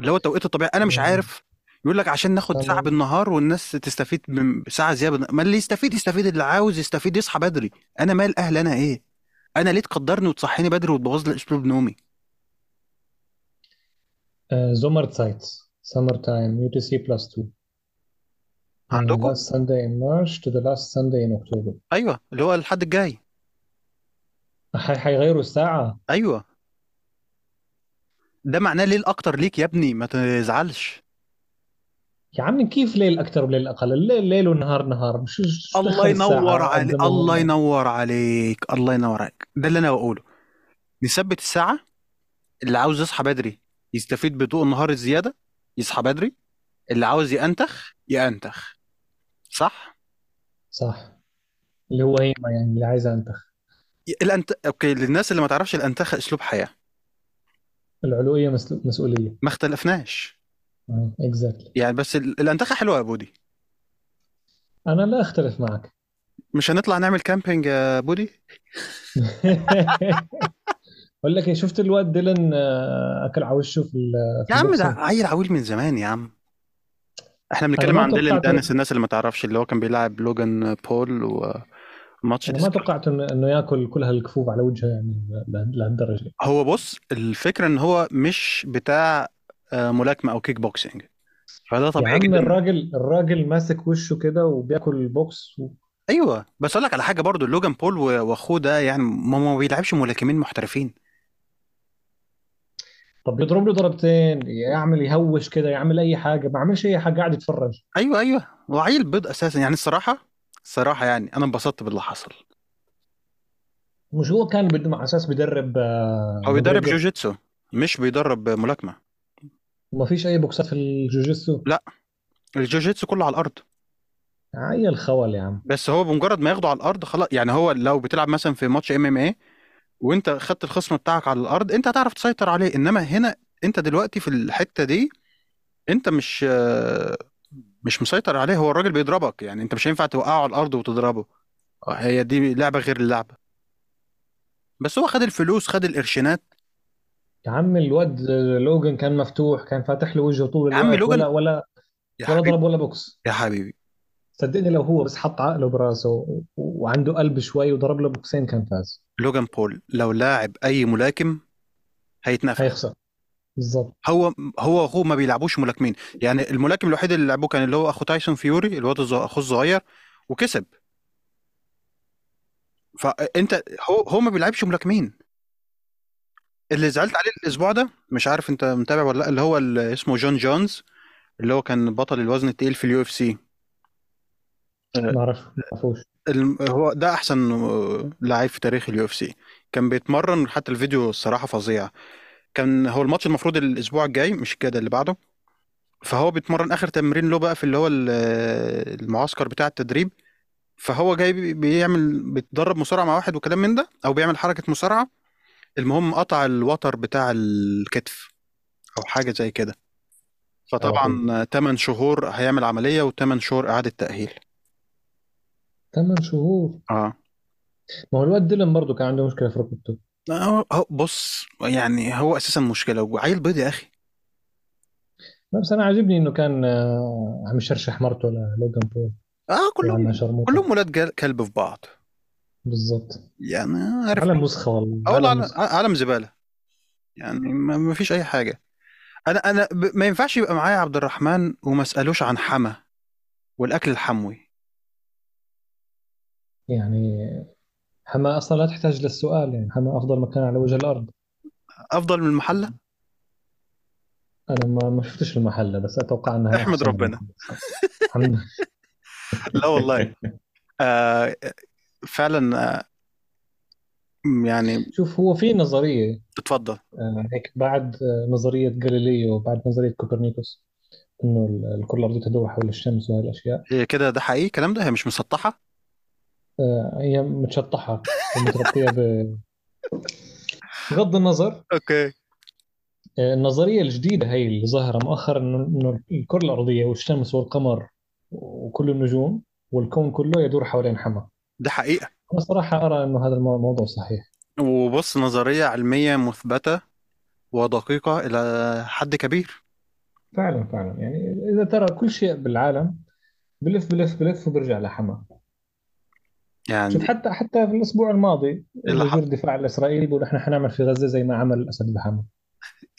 اللي هو التوقيت الطبيعي انا مش
مم.
عارف يقول لك عشان ناخد ساعه
انا
بالنهار والناس تستفيد من- بساعه زياده ما اللي يستفيد يستفيد اللي عاوز يستفيد يصحى بدري انا مال اهل انا ايه انا ليه تقدرني وتصحيني بدري وتبوظ لي اسلوب نومي
زومر سايت سمر تايم يو تي سي بلس 2 from the
عندكم
last Sunday in March to the last Sunday in October
ايوه اللي هو الحد الجاي
حي- حيغيروا الساعة
ايوه ده معناه ليل اكتر ليك يا ابني ما تزعلش
يا عم كيف ليل أكتر وليل أقل الليل ليل ونهار نهار شو شو
الله
دخل
ينور
الساعة
عليك
قد ما
الله
هو
ينور عليك الله ينور عليك ده اللي انا بقوله نثبت الساعه اللي عاوز يصحى بدري يستفيد بضوء النهار الزياده يصحى بدري اللي عاوز يأنتخ يأنتخ صح؟
صح اللي هو هيما يعني اللي عايز أنتخ
ي- الأنت... اوكي للناس اللي ما تعرفش الأنتخة أسلوب حياة
العلوية مسل- مسؤولية آه،
ما اختلفناش
اكزاكتلي
يعني بس ال... الأنتخة حلوة يا بودي
أنا لا أختلف معك
مش هنطلع نعمل كامبينج يا بودي
بقول لك إيه، شفت الواد ديلان آه، اكل على وشه في ال- في
يا عم ده
البوكسينج
عيل عويل من زمان يا عم احنا بنتكلم
ما
عن ديلان
توقعت-
دانس الناس اللي ما تعرفش اللي هو كان بيلعب لوجان بول وماتش
انا ما
ديسكال
توقعت انه انه ياكل كل هالكفوف على وجهه يعني له- لهالدرجه
هو بص الفكرة ان هو مش بتاع آه، ملاكمة او كيك بوكسينج فده
يا
طبيعي
عم
جدا
الراجل الراجل ماسك وشه كده وبياكل البوكس و...
ايوه بس اقول لك على حاجه برضو لوجان بول و- واخوه ده يعني ما ما بيلعبش ملاكمين محترفين
طب يضرب له ضربتين يعمل يهوش كده يعمل اي حاجه ما عملش اي حاجه قاعد يتفرج
ايوه ايوه وعيل بيض اساسا يعني الصراحه الصراحه يعني انا انبسطت باللي حصل
مش هو كان بده على اساس بيدرب آه،
هو بيدرب
مجريجر
جوجيتسو مش بيدرب ملاكمه
وما فيش اي بوكسات في الجوجيتسو
لا الجوجيتسو كله على الارض
عيل الخول يا عم
بس هو بمجرد ما ياخده على الارض خلاص يعني هو لو بتلعب مثلا في ماتش ام ام اي وانت خدت الخصم بتاعك على الارض انت هتعرف تسيطر عليه انما هنا انت دلوقتي في الحته دي انت مش آه، مش مسيطر عليه هو الراجل بيضربك يعني انت مش هينفع توقعه على الارض وتضربه هي دي لعبه غير اللعبه بس هو خد الفلوس خد القرشينات
يا عم الواد آه، لوجن كان مفتوح كان فاتح له وجهه طول
يا عم
الوقت
لوجان
ولا ولا
يا
ولا
حبيبي
ضرب ولا بوكس
يا حبيبي
صدقني لو هو بس حط عقله براسه و- وعنده قلب شوي وضرب له بوكسين كان فاز
لوجان بول لو لاعب اي ملاكم هيتنفخ
هيخسر بالظبط
هو هو واخوه ما بيلعبوش ملاكمين يعني الملاكم الوحيد اللي لعبوه كان اللي هو اخو تايسون فيوري الواد الز- اخوه الصغير وكسب فانت هو هو ما بيلعبش ملاكمين اللي زعلت عليه الاسبوع ده مش عارف انت متابع ولا لا اللي هو اللي اسمه جون جونز اللي هو كان بطل الوزن التقيل في اليو اف سي أه.
ما اعرف ما اعرفوش
الم- هو ده احسن آه، لعيب في تاريخ اليو اف سي كان بيتمرن حتى الفيديو الصراحه فظيع كان هو الماتش المفروض الاسبوع الجاي مش كده اللي بعده فهو بيتمرن اخر تمرين له بقى في اللي هو ال- آه، المعسكر بتاع التدريب فهو جاي بي- بيعمل بيتدرب مصارعه مع واحد وكلام من ده او بيعمل حركه مصارعه المهم قطع الوتر بتاع الكتف او حاجه زي كده
يا اخوي
فطبعا آه، 8 شهور هيعمل عمليه و8 شهور اعاده تاهيل
ثمان شهور
اه
ما هو الواد ديلان برضه كان عنده مشكله في ركبته
هو- هو- بص يعني هو اساسا مشكله وعيل بيض يا اخي
لا، بس انا عاجبني انه كان آه، عم يشرشح مرته للوجان بول
اه
وعم
كلهم
شرموطه
كلهم ولاد جل- كلب في بعض
بالظبط
يعني عارف
عالم وسخه والله
اه والله
عالم
عالم
وسخه
عالم زباله يعني ما ما فيش اي حاجه انا انا ب- ما ينفعش يبقى معايا عبد الرحمن وما اسالوش عن حما والاكل الحموي
يعني حما اصلا لا تحتاج للسؤال يعني حما افضل مكان على وجه الارض
افضل من المحله
انا ما ما شفتش المحله بس اتوقع انها
احمد
احسن من
ربنا
محمد يعني. الحمد
لا والله آه فعلا آه يعني
شوف هو في نظريه
اتفضل
آه، هيك بعد آه، نظريه جاليليو وبعد نظريه كوبرنيكوس انه ال- الكره الارضيه تدور حول الشمس وهي الاشياء
إيه كده ده حقيقي الكلام ده هي مش مسطحه
آه، هي متشطحه ومتغطيه ب- بغض النظر آه،
اوكي
النظرية الجديدة هي اللي ظاهرة مؤخرا إنه إنه الكرة الأرضية والشمس والقمر وكل النجوم والكون كله يدور حوالين حما
ده حقيقه
أنا صراحة أرى إنه هذا المو- الموضوع صحيح
وبص نظريه علميه مثبته ودقيقه الى حد كبير
فعلا فعلا يعني إذا ترى كل شيء بالعالم بلف بلف بلف وبرجع لحما شوف
يعني
حتى حتى في الأسبوع الماضي
إيه اللي
وزير
حصل
الدفاع الإسرائيلي بيقول إحنا حنعمل في غزة زي ما عمل الأسد بحما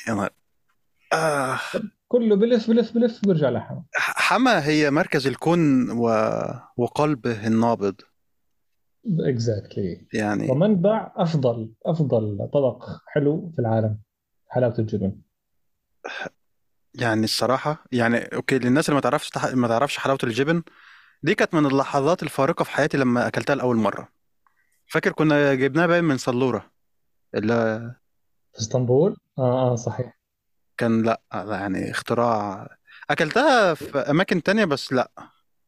يا نهار. آه
كله بلف بلف بلف وبرجع لحما
حما هي مركز الكون و... وقلبه النابض
اكزاكتلي
يعني
ومنبع أفضل أفضل طبق حلو في العالم حلاوة الجبن
يعني الصراحة يعني اوكي للناس اللي ما تعرفش تح... ما تعرفش حلاوة الجبن دي كانت من اللحظات الفارقة في حياتي لما اكلتها لأول مرة فاكر كنا جبناها باين من سلورة اللي
في اسطنبول اه اه صحيح
كان لا لا، يعني اختراع اكلتها في اماكن تانية بس لا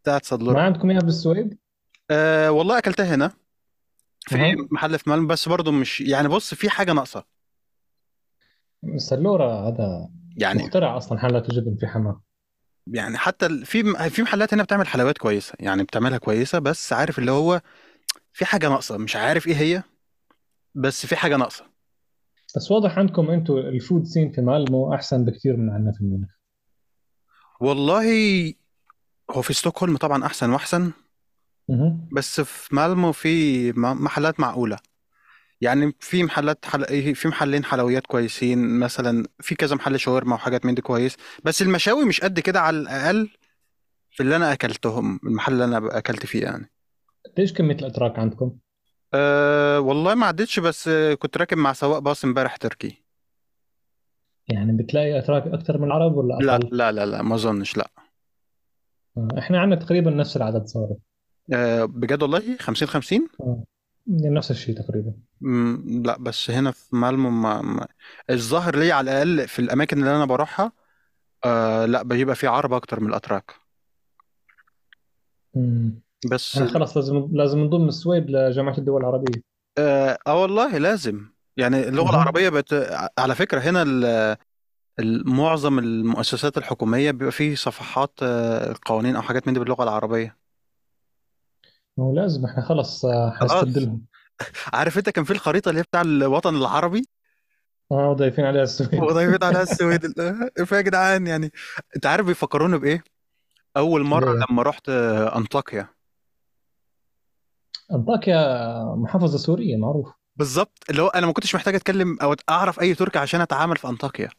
بتاعت
ما
سلورة
عندكم اياها بالسويد
أه والله اكلتها هنا في
اها
محل في ملم بس برضو مش يعني بص في حاجة ناقصة
سلورة هذا
يعني
مخترع اصلا حلاة الجبن في حماه
يعني حتى ال- في في محلات هنا بتعمل حلويات كويسة يعني بتعملها كويسة بس عارف إيه اللي هو في حاجة ناقصة مش عارف ايه هي بس في حاجة ناقصة
بس واضح عندكم انتم الفود سين في مالمو احسن بكثير من عندنا في ميونخ
والله هو في ستوكهولم طبعا احسن واحسن
مهم.
بس في مالمو في م- محلات معقولة يعني في محلات حل... إيه، في محلين حلويات كويسين مثلا في كذا محل شاورما وحاجات من دي كويس بس المشاوي مش قد كده على الأقل في اللي أنا أكلتهم المحل اللي أنا أكلت فيه يعني
قديش كميه الاتراك عندكم؟
أه والله ما عدتش بس آه، كنت راكب مع سواق باص امبارح تركي
يعني بتلاقي اتراك اكثر من العرب ولا
لا
اقل؟
لا لا لا ما أظنش لا
آه، احنا عندنا تقريبا نفس العدد صار
أه بجد والله 50 50
آه، نفس الشيء تقريبا
مم، لا امم، بس هنا في مالمو ما... ما... الظاهر لي على الأقل في الأماكن اللي أنا بروحها أه لا بيبقى في عرب أكتر من الأتراك
مم.
بس
انا خلص لازم لازم نضم السويد لجامعه الدول العربيه
اه آه والله لازم يعني اللغة
مهم.
العربية بت... على فكرة هنا ال- ال- معظم المؤسسات الحكومية بيبقى فيه صفحات آه، قوانين أو حاجات من دي باللغة العربية
ما هو لازم احنا خلص آه،
خلاص
حنستبدلهم
عارف أنت كان في الخريطة اللي هي بتاع الوطن العربي
اه ضايفين عليها السويد
وضيفت عليها السويد كفاية آه، يا جدعان يعني أنت عارف بيفكروني بإيه؟ أول مرة
بايه
لما رحت آه، أنطاكيا
انطاكيا محافظه سوريه معروف
بالظبط اللي هو أنا ما كنتش محتاج أتكلم أو أعرف أي تركي عشان أتعامل في أنطاكيا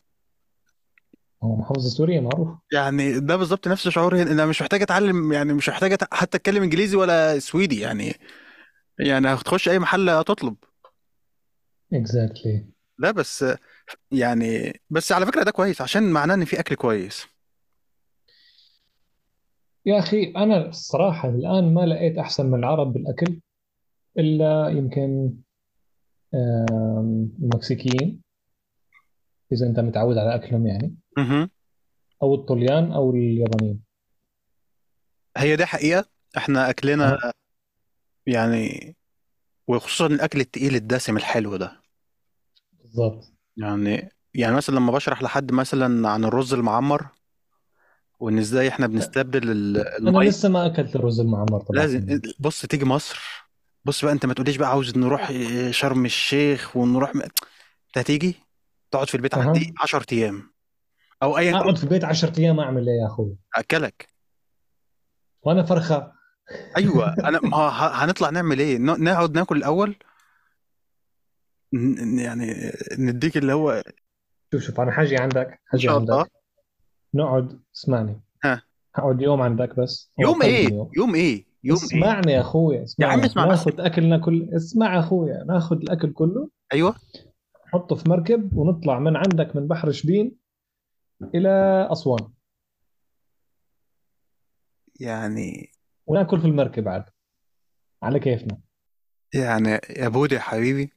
هو محافظه سوريه آه، معروف
يعني ده بالظبط نفس شعوري هنا. انا مش محتاج اتعلم يعني مش محتاج أت- حتى اتكلم انجليزي ولا سويدي يعني يعني هتخش اي محل هتطلب
اكزاكتلي
لا بس يعني بس على فكرة ده كويس عشان معناه ان في اكل كويس
يا اخي انا الصراحه الان ما لقيت احسن من العرب بالاكل الا يمكن آم، المكسيكيين اذا انت متعود على اكلهم يعني
مهم.
او الطليان او اليابانيين
هي دي حقيقة احنا اكلنا
اه
يعني وخصوصا الاكل التقيل الدسم الحلو ده
بالضبط
يعني يعني مثلا لما بشرح لحد مثلا عن الرز المعمر وان ازاي احنا بنستبدل ال-
انا
المية
لسه ما اكلت الرز المعمر
لازم إيه،
تبعكم
بص تيجي مصر بص بقى انت ما تقوليش بقى عاوز نروح شرم الشيخ ونروح م- انت هتيجي تقعد في البيت عندي
اها
10 ايام او ايا كنت
اقعد في البيت 10 ايام اعمل ايه يا اخوي
اكلك
وانا فرخه
ايوه انا ما ه- هنطلع نعمل ايه ن- نقعد ناكل الاول ن- ن- يعني نديك اللي هو ان
شوف شوف انا حاجي عندك حاجي
شاء الله
عندك نقعد اسمعني
ها
هقعد يوم عندك بس او
يوم
اقل
ايه
من يوم
يوم ايه يوم ايه
اسمعني يا اخوي
يا عم
اسمعني
اسمع نفسك
ناخذ اكلنا كل اسمع يا اخويا ناخذ الاكل كله
ايوه
نحطه في مركب ونطلع من عندك من بحر شبين الى اسوان
يعني
وناكل في المركب عاد على كيفنا
يعني يا بودي يا حبيبي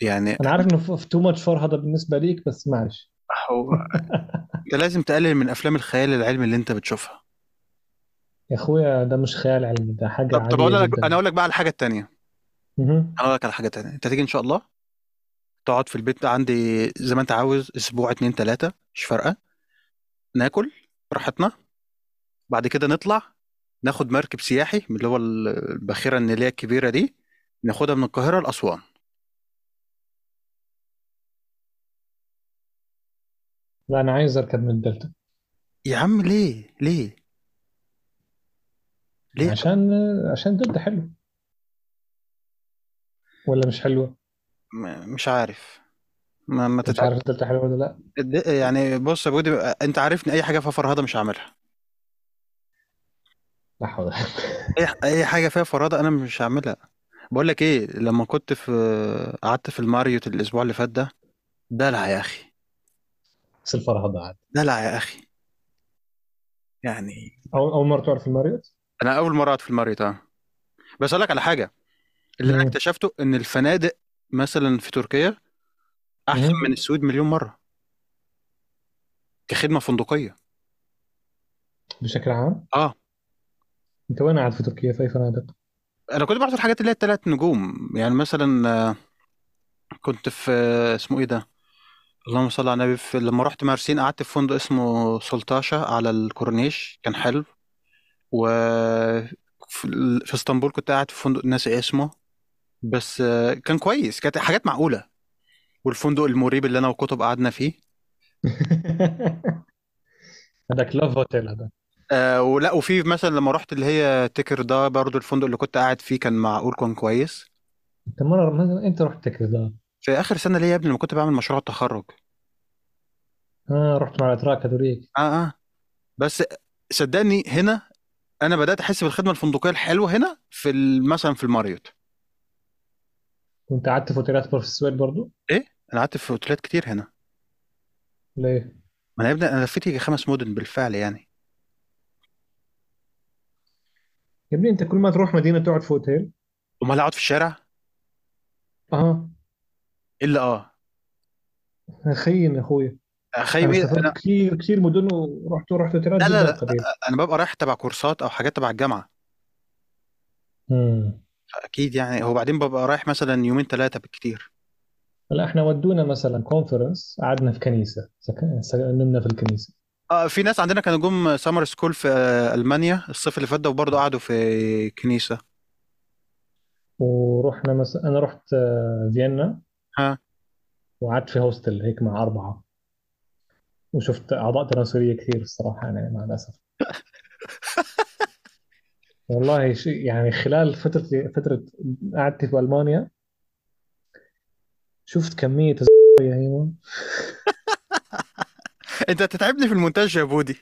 يعني
انا عارف انه تو ماتش فور هذا بالنسبه ليك بس معلش
هو انت لازم تقلل من افلام الخيال العلمي اللي انت بتشوفها
يا اخويا ده مش خيال علمي ده حاجه
طب طب
عاديه
اقول لك انا
جدا
اقول لك بقى على الحاجه التانيه
مهم.
انا اقول لك على حاجه تانيه انت تيجي ان شاء الله تقعد في البيت عندي زي ما انت عاوز اسبوع اتنين تلاته مش فارقه ناكل براحتنا بعد كده نطلع ناخد مركب سياحي من اللي هو الباخره النيليه الكبيره دي ناخدها من القاهره لاسوان
لا انا عايز اركب من الدلتا
يا عم ليه ليه ليه طب
عشان عشان الدلتا حلو ولا مش حلوه
م- مش عارف ما, ما
انت مش
تتعب
عارف الدلتا حلوه ولا لا
الد- يعني بص يا بودي انت عارفني اي حاجه فيها فرهده مش هعملها
لا حول ولا
اي اي حاجه فيها فرهده انا مش هعملها بقول لك ايه لما كنت في قعدت في الماريوت الاسبوع اللي فات ده دلع يا اخي
بس الفرهده عاد
دلع يا اخي يعني
اول اول مره تعرف الماريوت
انا اول مره اقعد في الماريوت اه بس اقول لك على حاجه اللي انا
مم.
اكتشفته ان الفنادق مثلا في تركيا احسن
مهم.
من السويد مليون مره كخدمه فندقيه
بشكل عام
اه
انت وين قاعد في تركيا في اي فنادق
انا كنت بحضر الحاجات اللي هي الثلاث نجوم يعني مثلا آه، كنت في آه، اسمه ايه ده اللهم صل على النبي في لما رحت مرسين قعدت في فندق اسمه سلطاشة على الكورنيش كان حلو و في ال- في اسطنبول كنت قاعد في فندق ناسي اسمه بس آه، كان كويس كانت حاجات معقولة والفندق المريب اللي انا وكتب قعدنا فيه
هذاك لاف هوتيل هذا
آه ولا وفي مثلا لما رحت اللي هي تكر ده برضو الفندق اللي كنت قاعد فيه كان معقول كان كويس
انت مره مثلا انت رحت كذا
في اخر سنه ليا يا ابني لما كنت بعمل مشروع التخرج
اه رحت مع الاتراك هذوليك
اه اه بس صدقني هنا انا بدات احس بالخدمه الفندقيه الحلوه هنا في ال- مثلا في الماريوت
وانت قعدت في اوتيلات بور في السويد برضه
ايه انا قعدت في اوتيلات كتير هنا
ليه؟
ما انا يا ابني انا لفيت يجي خمس مدن بالفعل يعني
يا ابني انت كل ما تروح مدينه تقعد في اوتيل
امال اقعد في الشارع
اه
الا اه
خيم يا اخويا
اخيم
انا
ايه
سافرت
انا
كثير كثير مدن ورحت ورحت اوتيلات
لا لا
جدا
لا
قليل
انا ببقى رايح تبع كورسات او حاجات تبع الجامعه
امم
اكيد يعني هو بعدين ببقى رايح مثلا يومين ثلاثه بالكتير
لا احنا ودونا مثلا كونفرنس قعدنا في كنيسه سك- سك- نمنا في الكنيسه
اه في ناس عندنا كانوا جم سمر سكول في آه، المانيا الصيف اللي فات ده وبرضه قعدوا في كنيسه
ورحنا مثلا انا رحت آه، فيينا
ها
وقعدت في هوستل هيك مع اربعه وشفت اعضاء تناسليه كثير الصراحه يعني مع الاسف والله شيء يعني خلال فترة فترة قعدتي في ألمانيا شفت كمية الز- يا هيمون
انت هتتعبني في المونتاج يا بودي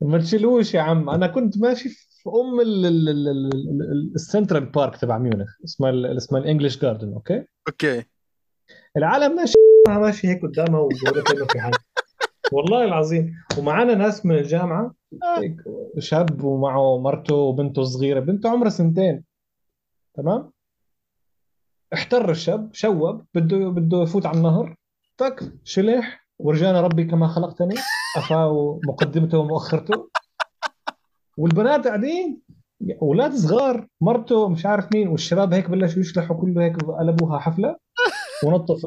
ما تشيلوش يا عم أنا كنت ماشي في أم ال- ال- ال- ال- ال- ال- السنترال بارك تبع ميونخ اسمها ال- اسمها الإنجليش جاردن أوكي
اوكي
العالم ماشي أنا ماشي هيك قدامها وبقول لك إنه في حاجة والله العظيم ومعانا ناس من الجامعة
آه.
هيك شاب ومعه مرته وبنته صغيرة بنته عمرها سنتين تمام احتر الشاب شوب بده بده يفوت على النهر فك شلح ورجعنا ربي كما خلقتني أفا مقدمته ومؤخرته والبنات قاعدين اولاد صغار مرته مش عارف مين والشباب هيك بلشوا يشلحوا كله هيك قلبوها حفله ونطوا في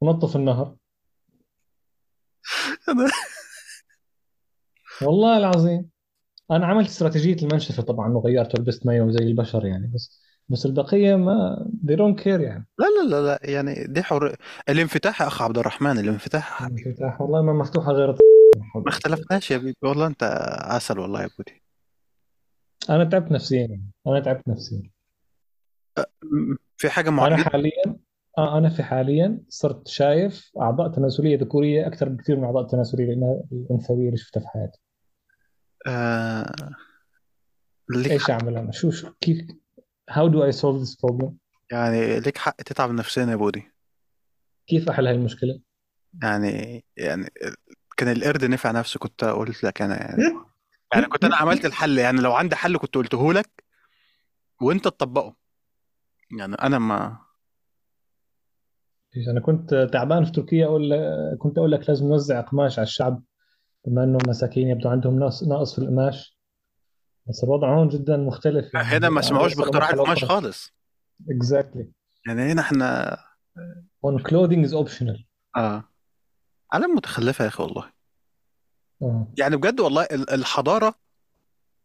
ونطوا في النهر والله العظيم انا عملت استراتيجيه المنشفه طبعا وغيرت ولبست مايو زي البشر يعني بس بس البقيه ما they don't care يعني
لا لا لا لا يعني دي حر الانفتاح يا اخ عبد الرحمن الانفتاح يا حبيبي
الانفتاح والله ما مفتوحه غير
ما اختلفناش يا بيبي والله انت عسل والله يا بودي
انا تعبت نفسيا يعني. انا تعبت نفسيا
م- في حاجه
انا
معينه
حاليا آه، انا في حاليا صرت شايف اعضاء تناسليه ذكوريه اكثر بكثير من اعضاء تناسليه الإنا- الانثويه اللي شفتها في حياتي
آه... ليك
ايش
حق
اعمل انا شو شو كيف how do I solve this problem
يعني ليك حق تتعب نفسيا يا بودي
كيف احل هاي المشكله
يعني يعني كان القرد نفع نفسه كنت قلت لك انا يعني يعني كنت انا عملت الحل يعني لو عندي حل كنت قلته لك وانت تطبقه يعني انا ما
انا إيه، كنت تعبان في تركيا اقول كنت اقول لك لازم نوزع قماش على الشعب بما انه مساكين يبدو عندهم ناس ناقص في القماش بس الوضع هون جدا مختلف يعني
آه، هنا ما
عم
سمعوش
بيوصلوا
باختراع
مرحله
القماش
اخرى
خالص
exactly
يعني هنا احنا
on clothing is optional
اه عالم متخلفه يا اخي والله
اه
يعني بجد والله ال- الحضاره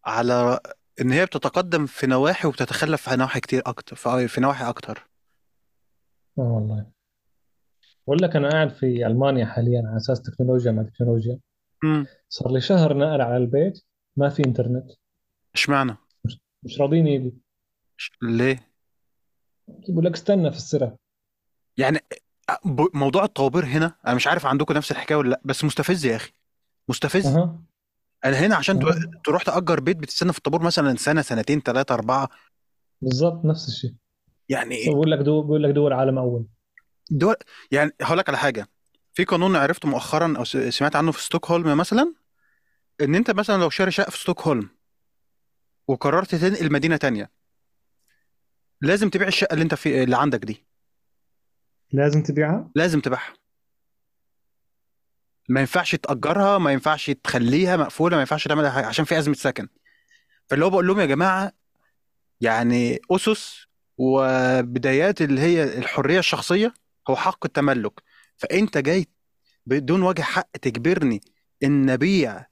على ان هي بتتقدم في نواحي وبتتخلف في نواحي كتير اكتر في في نواحي اكتر
اه والله بقول لك انا قاعد في المانيا حاليا على اساس تكنولوجيا مع تكنولوجيا
امم
صار لي شهر نقل على البيت ما في انترنت
اشمعنى
مش, مش راضين يجي
إش- ليه
بقول لك استنى في السرة
يعني ب- موضوع الطوابير هنا انا مش عارف عندكم نفس الحكايه ولا لا بس مستفز يا اخي مستفز
اها
انا هنا عشان تو-
اها
تروح تأجر بيت بتستنى في الطابور مثلا سنه سنتين ثلاثه اربعه
بالضبط نفس الشيء
يعني
بقول لك دول بقول لك دول عالم اول
دول يعني هقول لك على حاجه في قانون عرفته مؤخرا او س- سمعت عنه في ستوكهولم مثلا ان انت مثلا لو شاري شقه في ستوكهولم وقررت تنقل مدينه تانية لازم تبيع الشقه اللي انت في اللي عندك دي
لازم تبيعها
لازم تبيعها ما ينفعش تأجرها ما ينفعش تخليها مقفولة ما ينفعش تعمل أي حاجة عشان في أزمة سكن فاللي هو بقول لهم يا جماعة يعني أسس وبدايات اللي هي الحرية الشخصية هو حق التملك فأنت جاي بدون وجه حق تجبرني إن أبيع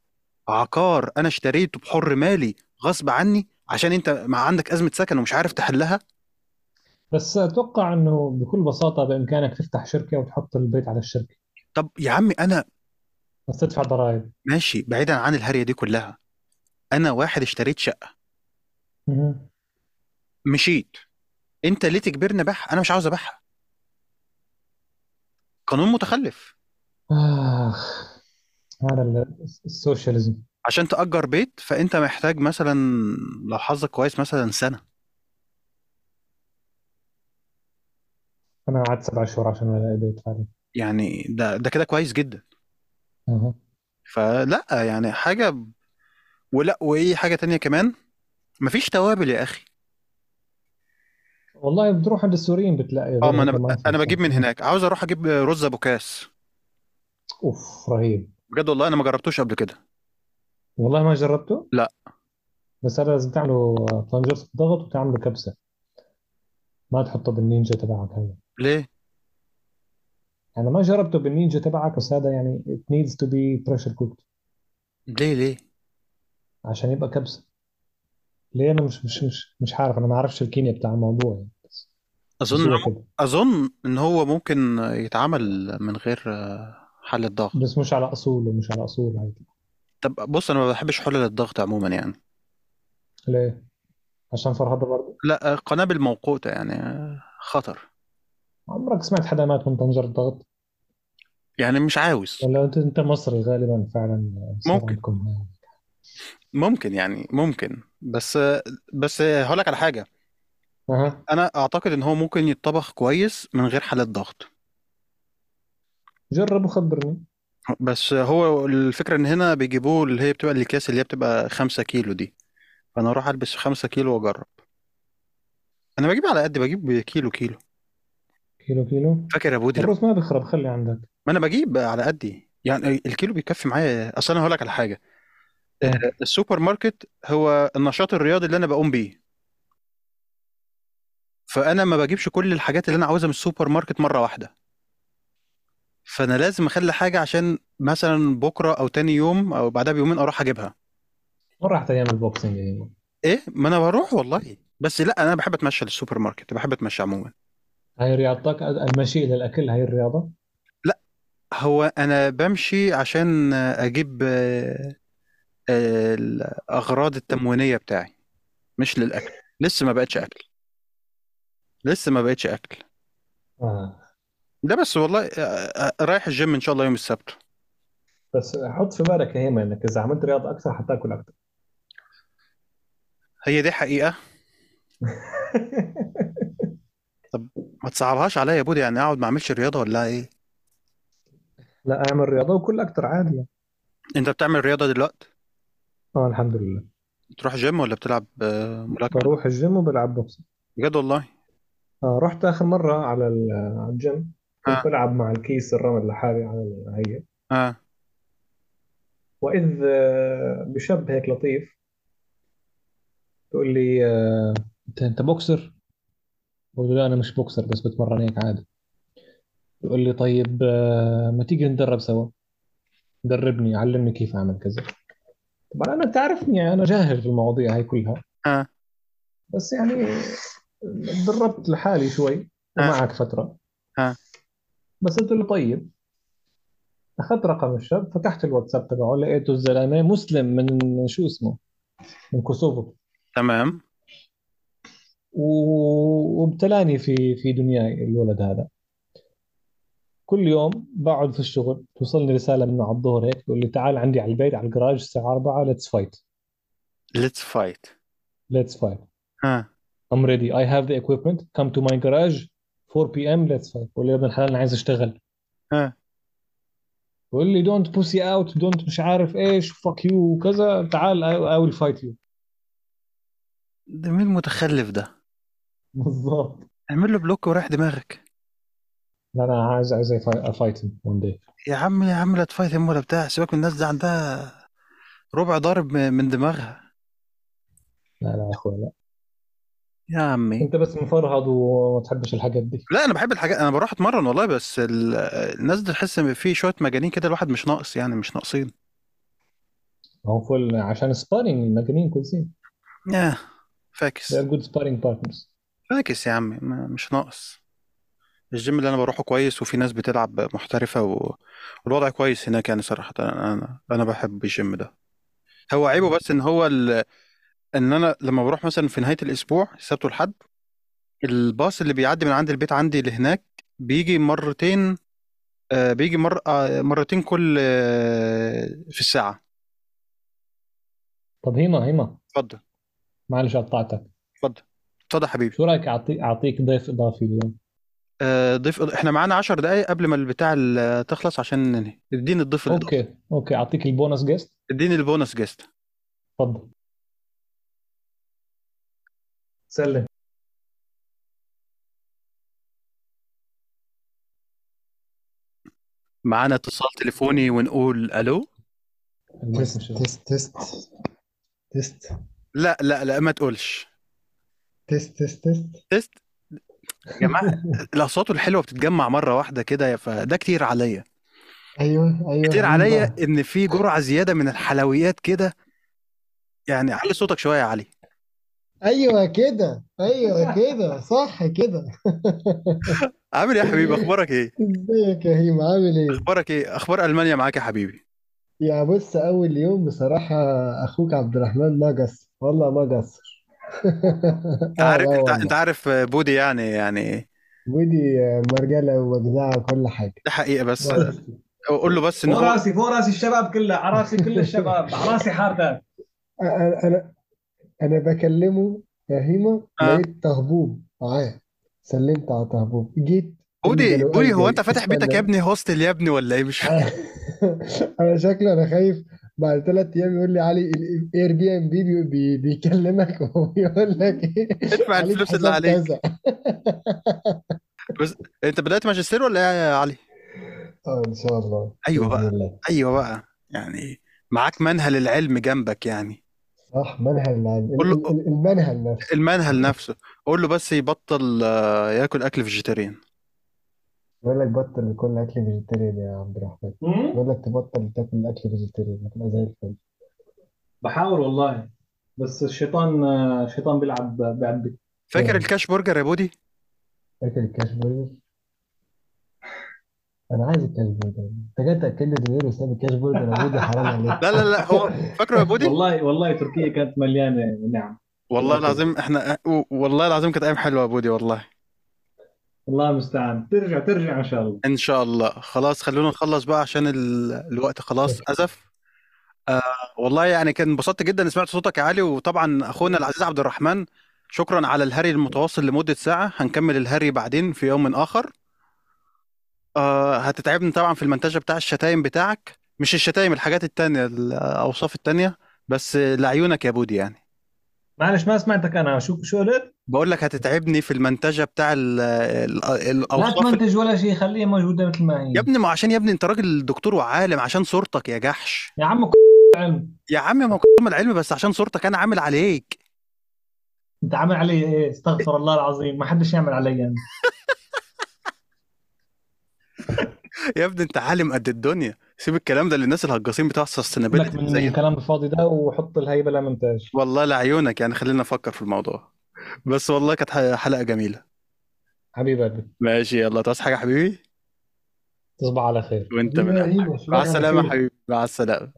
عقار أنا اشتريته بحر مالي غصب عني عشان أنت ما عندك أزمة سكن ومش عارف تحلها
بس اتوقع انه بكل بساطه بامكانك تفتح شركه وتحط البيت على الشركه
طب يا عمي انا
بس تدفع ضرائب
ماشي بعيدا عن الهريه دي كلها انا واحد اشتريت شقه
مهم.
مشيت انت ليه تجبرني ابيعها انا مش عاوز ابيعها قانون متخلف
اخ هذا ال- السوشياليزم
عشان تأجر بيت فانت محتاج مثلا لو حظك كويس مثلا سنه
انا قعدت سبع شهور عشان الاقي بيت فعلا
يعني ده ده كده كويس جدا
أها.
فلا يعني حاجه ولا وايه حاجه تانية كمان مفيش توابل يا اخي
والله بتروح عند السوريين بتلاقي
اه ما
غير
انا
هيك
ب...
ما
انا
في
بجيب من هناك عاوز اروح اجيب رز ابو كاس
اوف رهيب
بجد والله انا ما جربتوش قبل كده
والله ما جربته
لا
بس هذا لازم آه، تعمله طنجرة الضغط وتعمله كبسة ما تحطه بالنينجا تبعك هذا
ليه
انا ما جربته بالنينجا تبعك بس هذا يعني it needs to be pressure cooked
ليه ليه
عشان يبقى كبسة ليه انا مش مش مش مش عارف انا ما اعرفش الكيمياء بتاع الموضوع يعني بس
اظن
بس هو كده
اظن ان هو ممكن يتعمل من غير آه، حل الضغط
بس مش على اصول ومش على اصول عادي
طب بص انا ما بحبش حلل الضغط عموما يعني
ليه عشان فرهضة برضه
لا آه، قنابل موقوتة يعني آه، خطر
عمرك سمعت حدا مات من طنجرة ضغط
يعني مش عاوز
ولا انت انت مصري آه، غالبا فعلا صار
ممكن
عندكم هاي.
ممكن يعني ممكن بس آه، بس آه، هقولك على حاجة
اها
انا اعتقد ان هو ممكن يتطبخ كويس من غير حل الضغط
جرب وخبرني
بس آه، هو الفكرة ان هنا بيجيبوه اللي هي بتبقى الاكياس اللي هي بتبقى خمسة كيلو دي فانا اروح البس خمسة كيلو واجرب انا بجيب على قد بجيب كيلو كيلو
كيلو كيلو
فاكر يا بودي لما
الرز ما بيخرب خلي عندك
ما انا بجيب على قدي يعني الكيلو بيكفي معايا اصل انا هقول لك على حاجه آه،
اه
السوبر ماركت هو النشاط الرياضي اللي انا بقوم بيه فانا ما بجيبش كل الحاجات اللي انا عاوزها من السوبر ماركت مره واحده فانا لازم اخلي حاجه عشان مثلا بكره او تاني يوم او بعدها بيومين اروح اجيبها
وين راح ايام البوكسينج يعني
ايه ما انا بروح والله بس لا انا بحب اتمشى للسوبر ماركت بحب اتمشى عموما
هاي رياضتك المشي الى الاكل هاي الرياضه
لا هو انا بمشي عشان آه، اجيب آه، آه، الاغراض التموينيه بتاعي مش للاكل لسه ما بقتش اكل لسه ما بقتش اكل
آه.
ده بس والله آه، آه، رايح الجيم ان شاء الله يوم السبت
بس حط في بالك يا هيما انك اذا عملت رياضه اكثر حتاكل اكثر
هي دي حقيقة طب ما تصعبهاش عليا يا بودي يعني اقعد ما اعملش رياضة ولا ايه
لا اعمل رياضه وكل اكثر عادي
انت بتعمل رياضة دلوقتي
اه الحمد لله
بتروح جيم ولا بتلعب آه، ملاكمة
بروح الجيم وبلعب بوكسينج
بجد والله
آه رحت اخر مره على ال- على الجيم كنت
اه
بلعب مع الكيس الرمل لحالي على ال- هي
اه
واذ آه، بشاب هيك لطيف بيقول لي آه، انت انت بوكسر بقول له لا انا مش بوكسر بس بتمرن هيك عادي يقول لي طيب آه، ما تيجي نتدرب سوا دربني علمني كيف اعمل كذا طبعا انا تعرفني يعني انا جاهل في المواضيع هاي كلها
اه
بس يعني تدربت لحالي شوي
اه
ومعك فتره
اه
بس قلت له طيب اخذت رقم الشاب فتحت الواتساب تبعه لقيته الزلمه مسلم من شو اسمه من كوسوفو
تمام
و- وابتلاني في في دنياي الولد هذا كل يوم بقعد في الشغل توصلني رساله منه على الظهر هيك بيقول لي تعال عندي على البيت على الجراج الساعه 4 ليتس فايت
ليتس فايت
ليتس فايت
اه
I'm ready. I have the equipment. Come to my garage 4 p.m. Let's fight. بقول له يا ابن الحلال انا عايز اشتغل.
اه
بيقول لي don't pussy out, don't مش عارف ايش, fuck you وكذا, تعال I, I will fight you.
ده مين المتخلف ده
بالظبط.
اعمل له بلوك وراح دماغك
لا انا عايز عايز fight him one day.
يا عم يا عم لا تفايت هم ولا بتاع سيبك من الناس دي عندها ربع ضارب م- من دماغها
لا لا يا اخوي لا.
يا عمي
انت بس مفرهد وما تحبش الحاجات دي.
لا انا بحب الحاجات انا بروح اتمرن والله بس ال... الناس دي تحس ان في شويه مجانين كده الواحد مش ناقص يعني مش ناقصين
هو فل عشان sparring مجانين كويسين.
ياه
They
فاكس
are good sparring partners.
فاكس يا عم ما- مش ناقص الجيم اللي انا بروحه كويس وفي ناس بتلعب محترفة و... والوضع كويس هناك يعني صراحة انا انا أنا بحب الجيم ده هو عيبه بس ان هو ال... ان انا لما بروح مثلا في نهاية الاسبوع السبت والحد الباص اللي بيعدي من عند البيت عندي لهناك بيجي مرتين آه بيجي مر... آه مرتين كل آه في الساعة
طب هيما هيما
اتفضل
معلش قطعتك
اتفضل اتفضل يا حبيبي
شو رايك اعطيك اعطيك ضيف اضافي اليوم
آه ضيف احنا معانا 10 دقايق قبل ما البتاع ال- تخلص عشان ننهي اديني الضيف الاضافي
اوكي اوكي اعطيك البونس جيست
اديني البونس جيست
تفضل سلم
معانا اتصال تليفوني ونقول الو
تست تست تست تست
لا لا لا ما تقولش
تست تست تست
تست يا جماعه الاصوات الحلوه بتتجمع مره واحده كده يا فده كتير عليا
ايوه ايوه
كتير
عم
عليا
بقى.
ان في جرعه زياده من الحلويات كده يعني علي صوتك شويه يا علي
ايوه كده ايوه كده صح كده
عامل ايه يا حبيبي اخبارك ايه
ازيك يا هيم عامل ايه؟
اخبارك ايه اخبار المانيا معاك يا حبيبي
يا بص اول يوم بصراحه اخوك عبد الرحمن ما قصر والله ما قصر
انت
آه،
عارف انت
والله
انت عارف بودي يعني يعني
ودي مرجله ومجدعه وكل حاجه
ده حقيقه بس قول له بس ان
فوق
هو
راسي فوق راسي الشباب كله على راسي كل الشباب على راسي حاردات
انا انا انا بكلمه يا هيما
آه.
لقيت تهبوب معاه سلمت على تهبوب جيت
بودي
قالوا
بودي هو
قلبي
انت فاتح بيتك يا
استنى.
ابني هوستل يا ابني ولا ايه مش فاهم
انا آه. شكله انا خايف بعد ثلاث ايام يقول لي علي الاير بي ام بي بي- بي- بيكلمك ويقول لك ايه
ادفع
عليك
الفلوس اللي
حساب
عليك
كذا
بس انت بدأت ماجستير ولا ايه يا علي؟
اه ان شاء الله
ايوه
بإذن
بقى
الله
ايوه بقى يعني معاك منهل العلم جنبك يعني
صح منهل العلم
قول له-
ال- ال- المنهل نفسه
المنهل نفسه قول له بس يبطل آه، ياكل اكل فيجيتيريان
بيقول لك بطل كل اكل فيجيتيريان يا عبد الرحمن بيقول لك تبطل تاكل اكل فيجيتيريان هتبقى زي الفل
بحاول والله بس الشيطان الشيطان بيلعب بعبي
فاكر
مم.
الكاش برجر يا بودي؟
فاكر الكاش برجر انا عايز الكاش برجر انت جاي تاكلني دولار وساب الكاش برجر يا بودي حرام عليك
لا لا لا هو فاكره يا بودي؟
والله والله تركيا كانت مليانه نعم
والله العظيم احنا و- والله العظيم كانت ايام حلوه يا بودي والله
الله المستعان ترجع ترجع ان شاء الله
ان شاء الله خلاص خلونا نخلص بقى عشان ال... الوقت خلاص ازف آه والله يعني كان انبسطت جدا إني سمعت صوتك يا علي وطبعا اخونا العزيز عبد الرحمن شكرا على الهري المتواصل لمدة ساعة هنكمل الهري بعدين في يوم آخر آه هتتعبني طبعا في المنتجة بتاع الشتايم بتاعك مش الشتايم الحاجات التانية الأوصاف التانية بس لعيونك يا بودي يعني
معلش ما سمعتك انا شو شو قلت؟
بقول لك هتتعبني في المنتجة بتاع ال ال
لا
الأوصاف
تمنتج ولا شيء خليها موجوده مثل ما هي
يا ابني ما عشان يا ابني انت راجل دكتور وعالم عشان صورتك يا جحش
يا عم ك- علم
يا عم ما كنت من العلم بس عشان صورتك انا عامل عليك
انت عامل علي ايه استغفر الله العظيم ما حدش يعمل علي يعني. انا
يا ابني انت عالم قد الدنيا سيب الكلام ده للناس الهجاصين بتاع
لك
السستينابيلتي
من
زي
الكلام الفاضي ده وحط الهيبه لا مونتاج
والله لعيونك يعني خلينا نفكر في الموضوع بس والله كانت ح- حلقة جميلة
حبيب قلبي
ماشي يلا تعوز حاجة يا حبيبي
تصبح على خير
وانت
حبيبي
من
يا
أهل.
هيما أشوفك
مع
على
السلامة يا
خير
حبيبي مع السلامة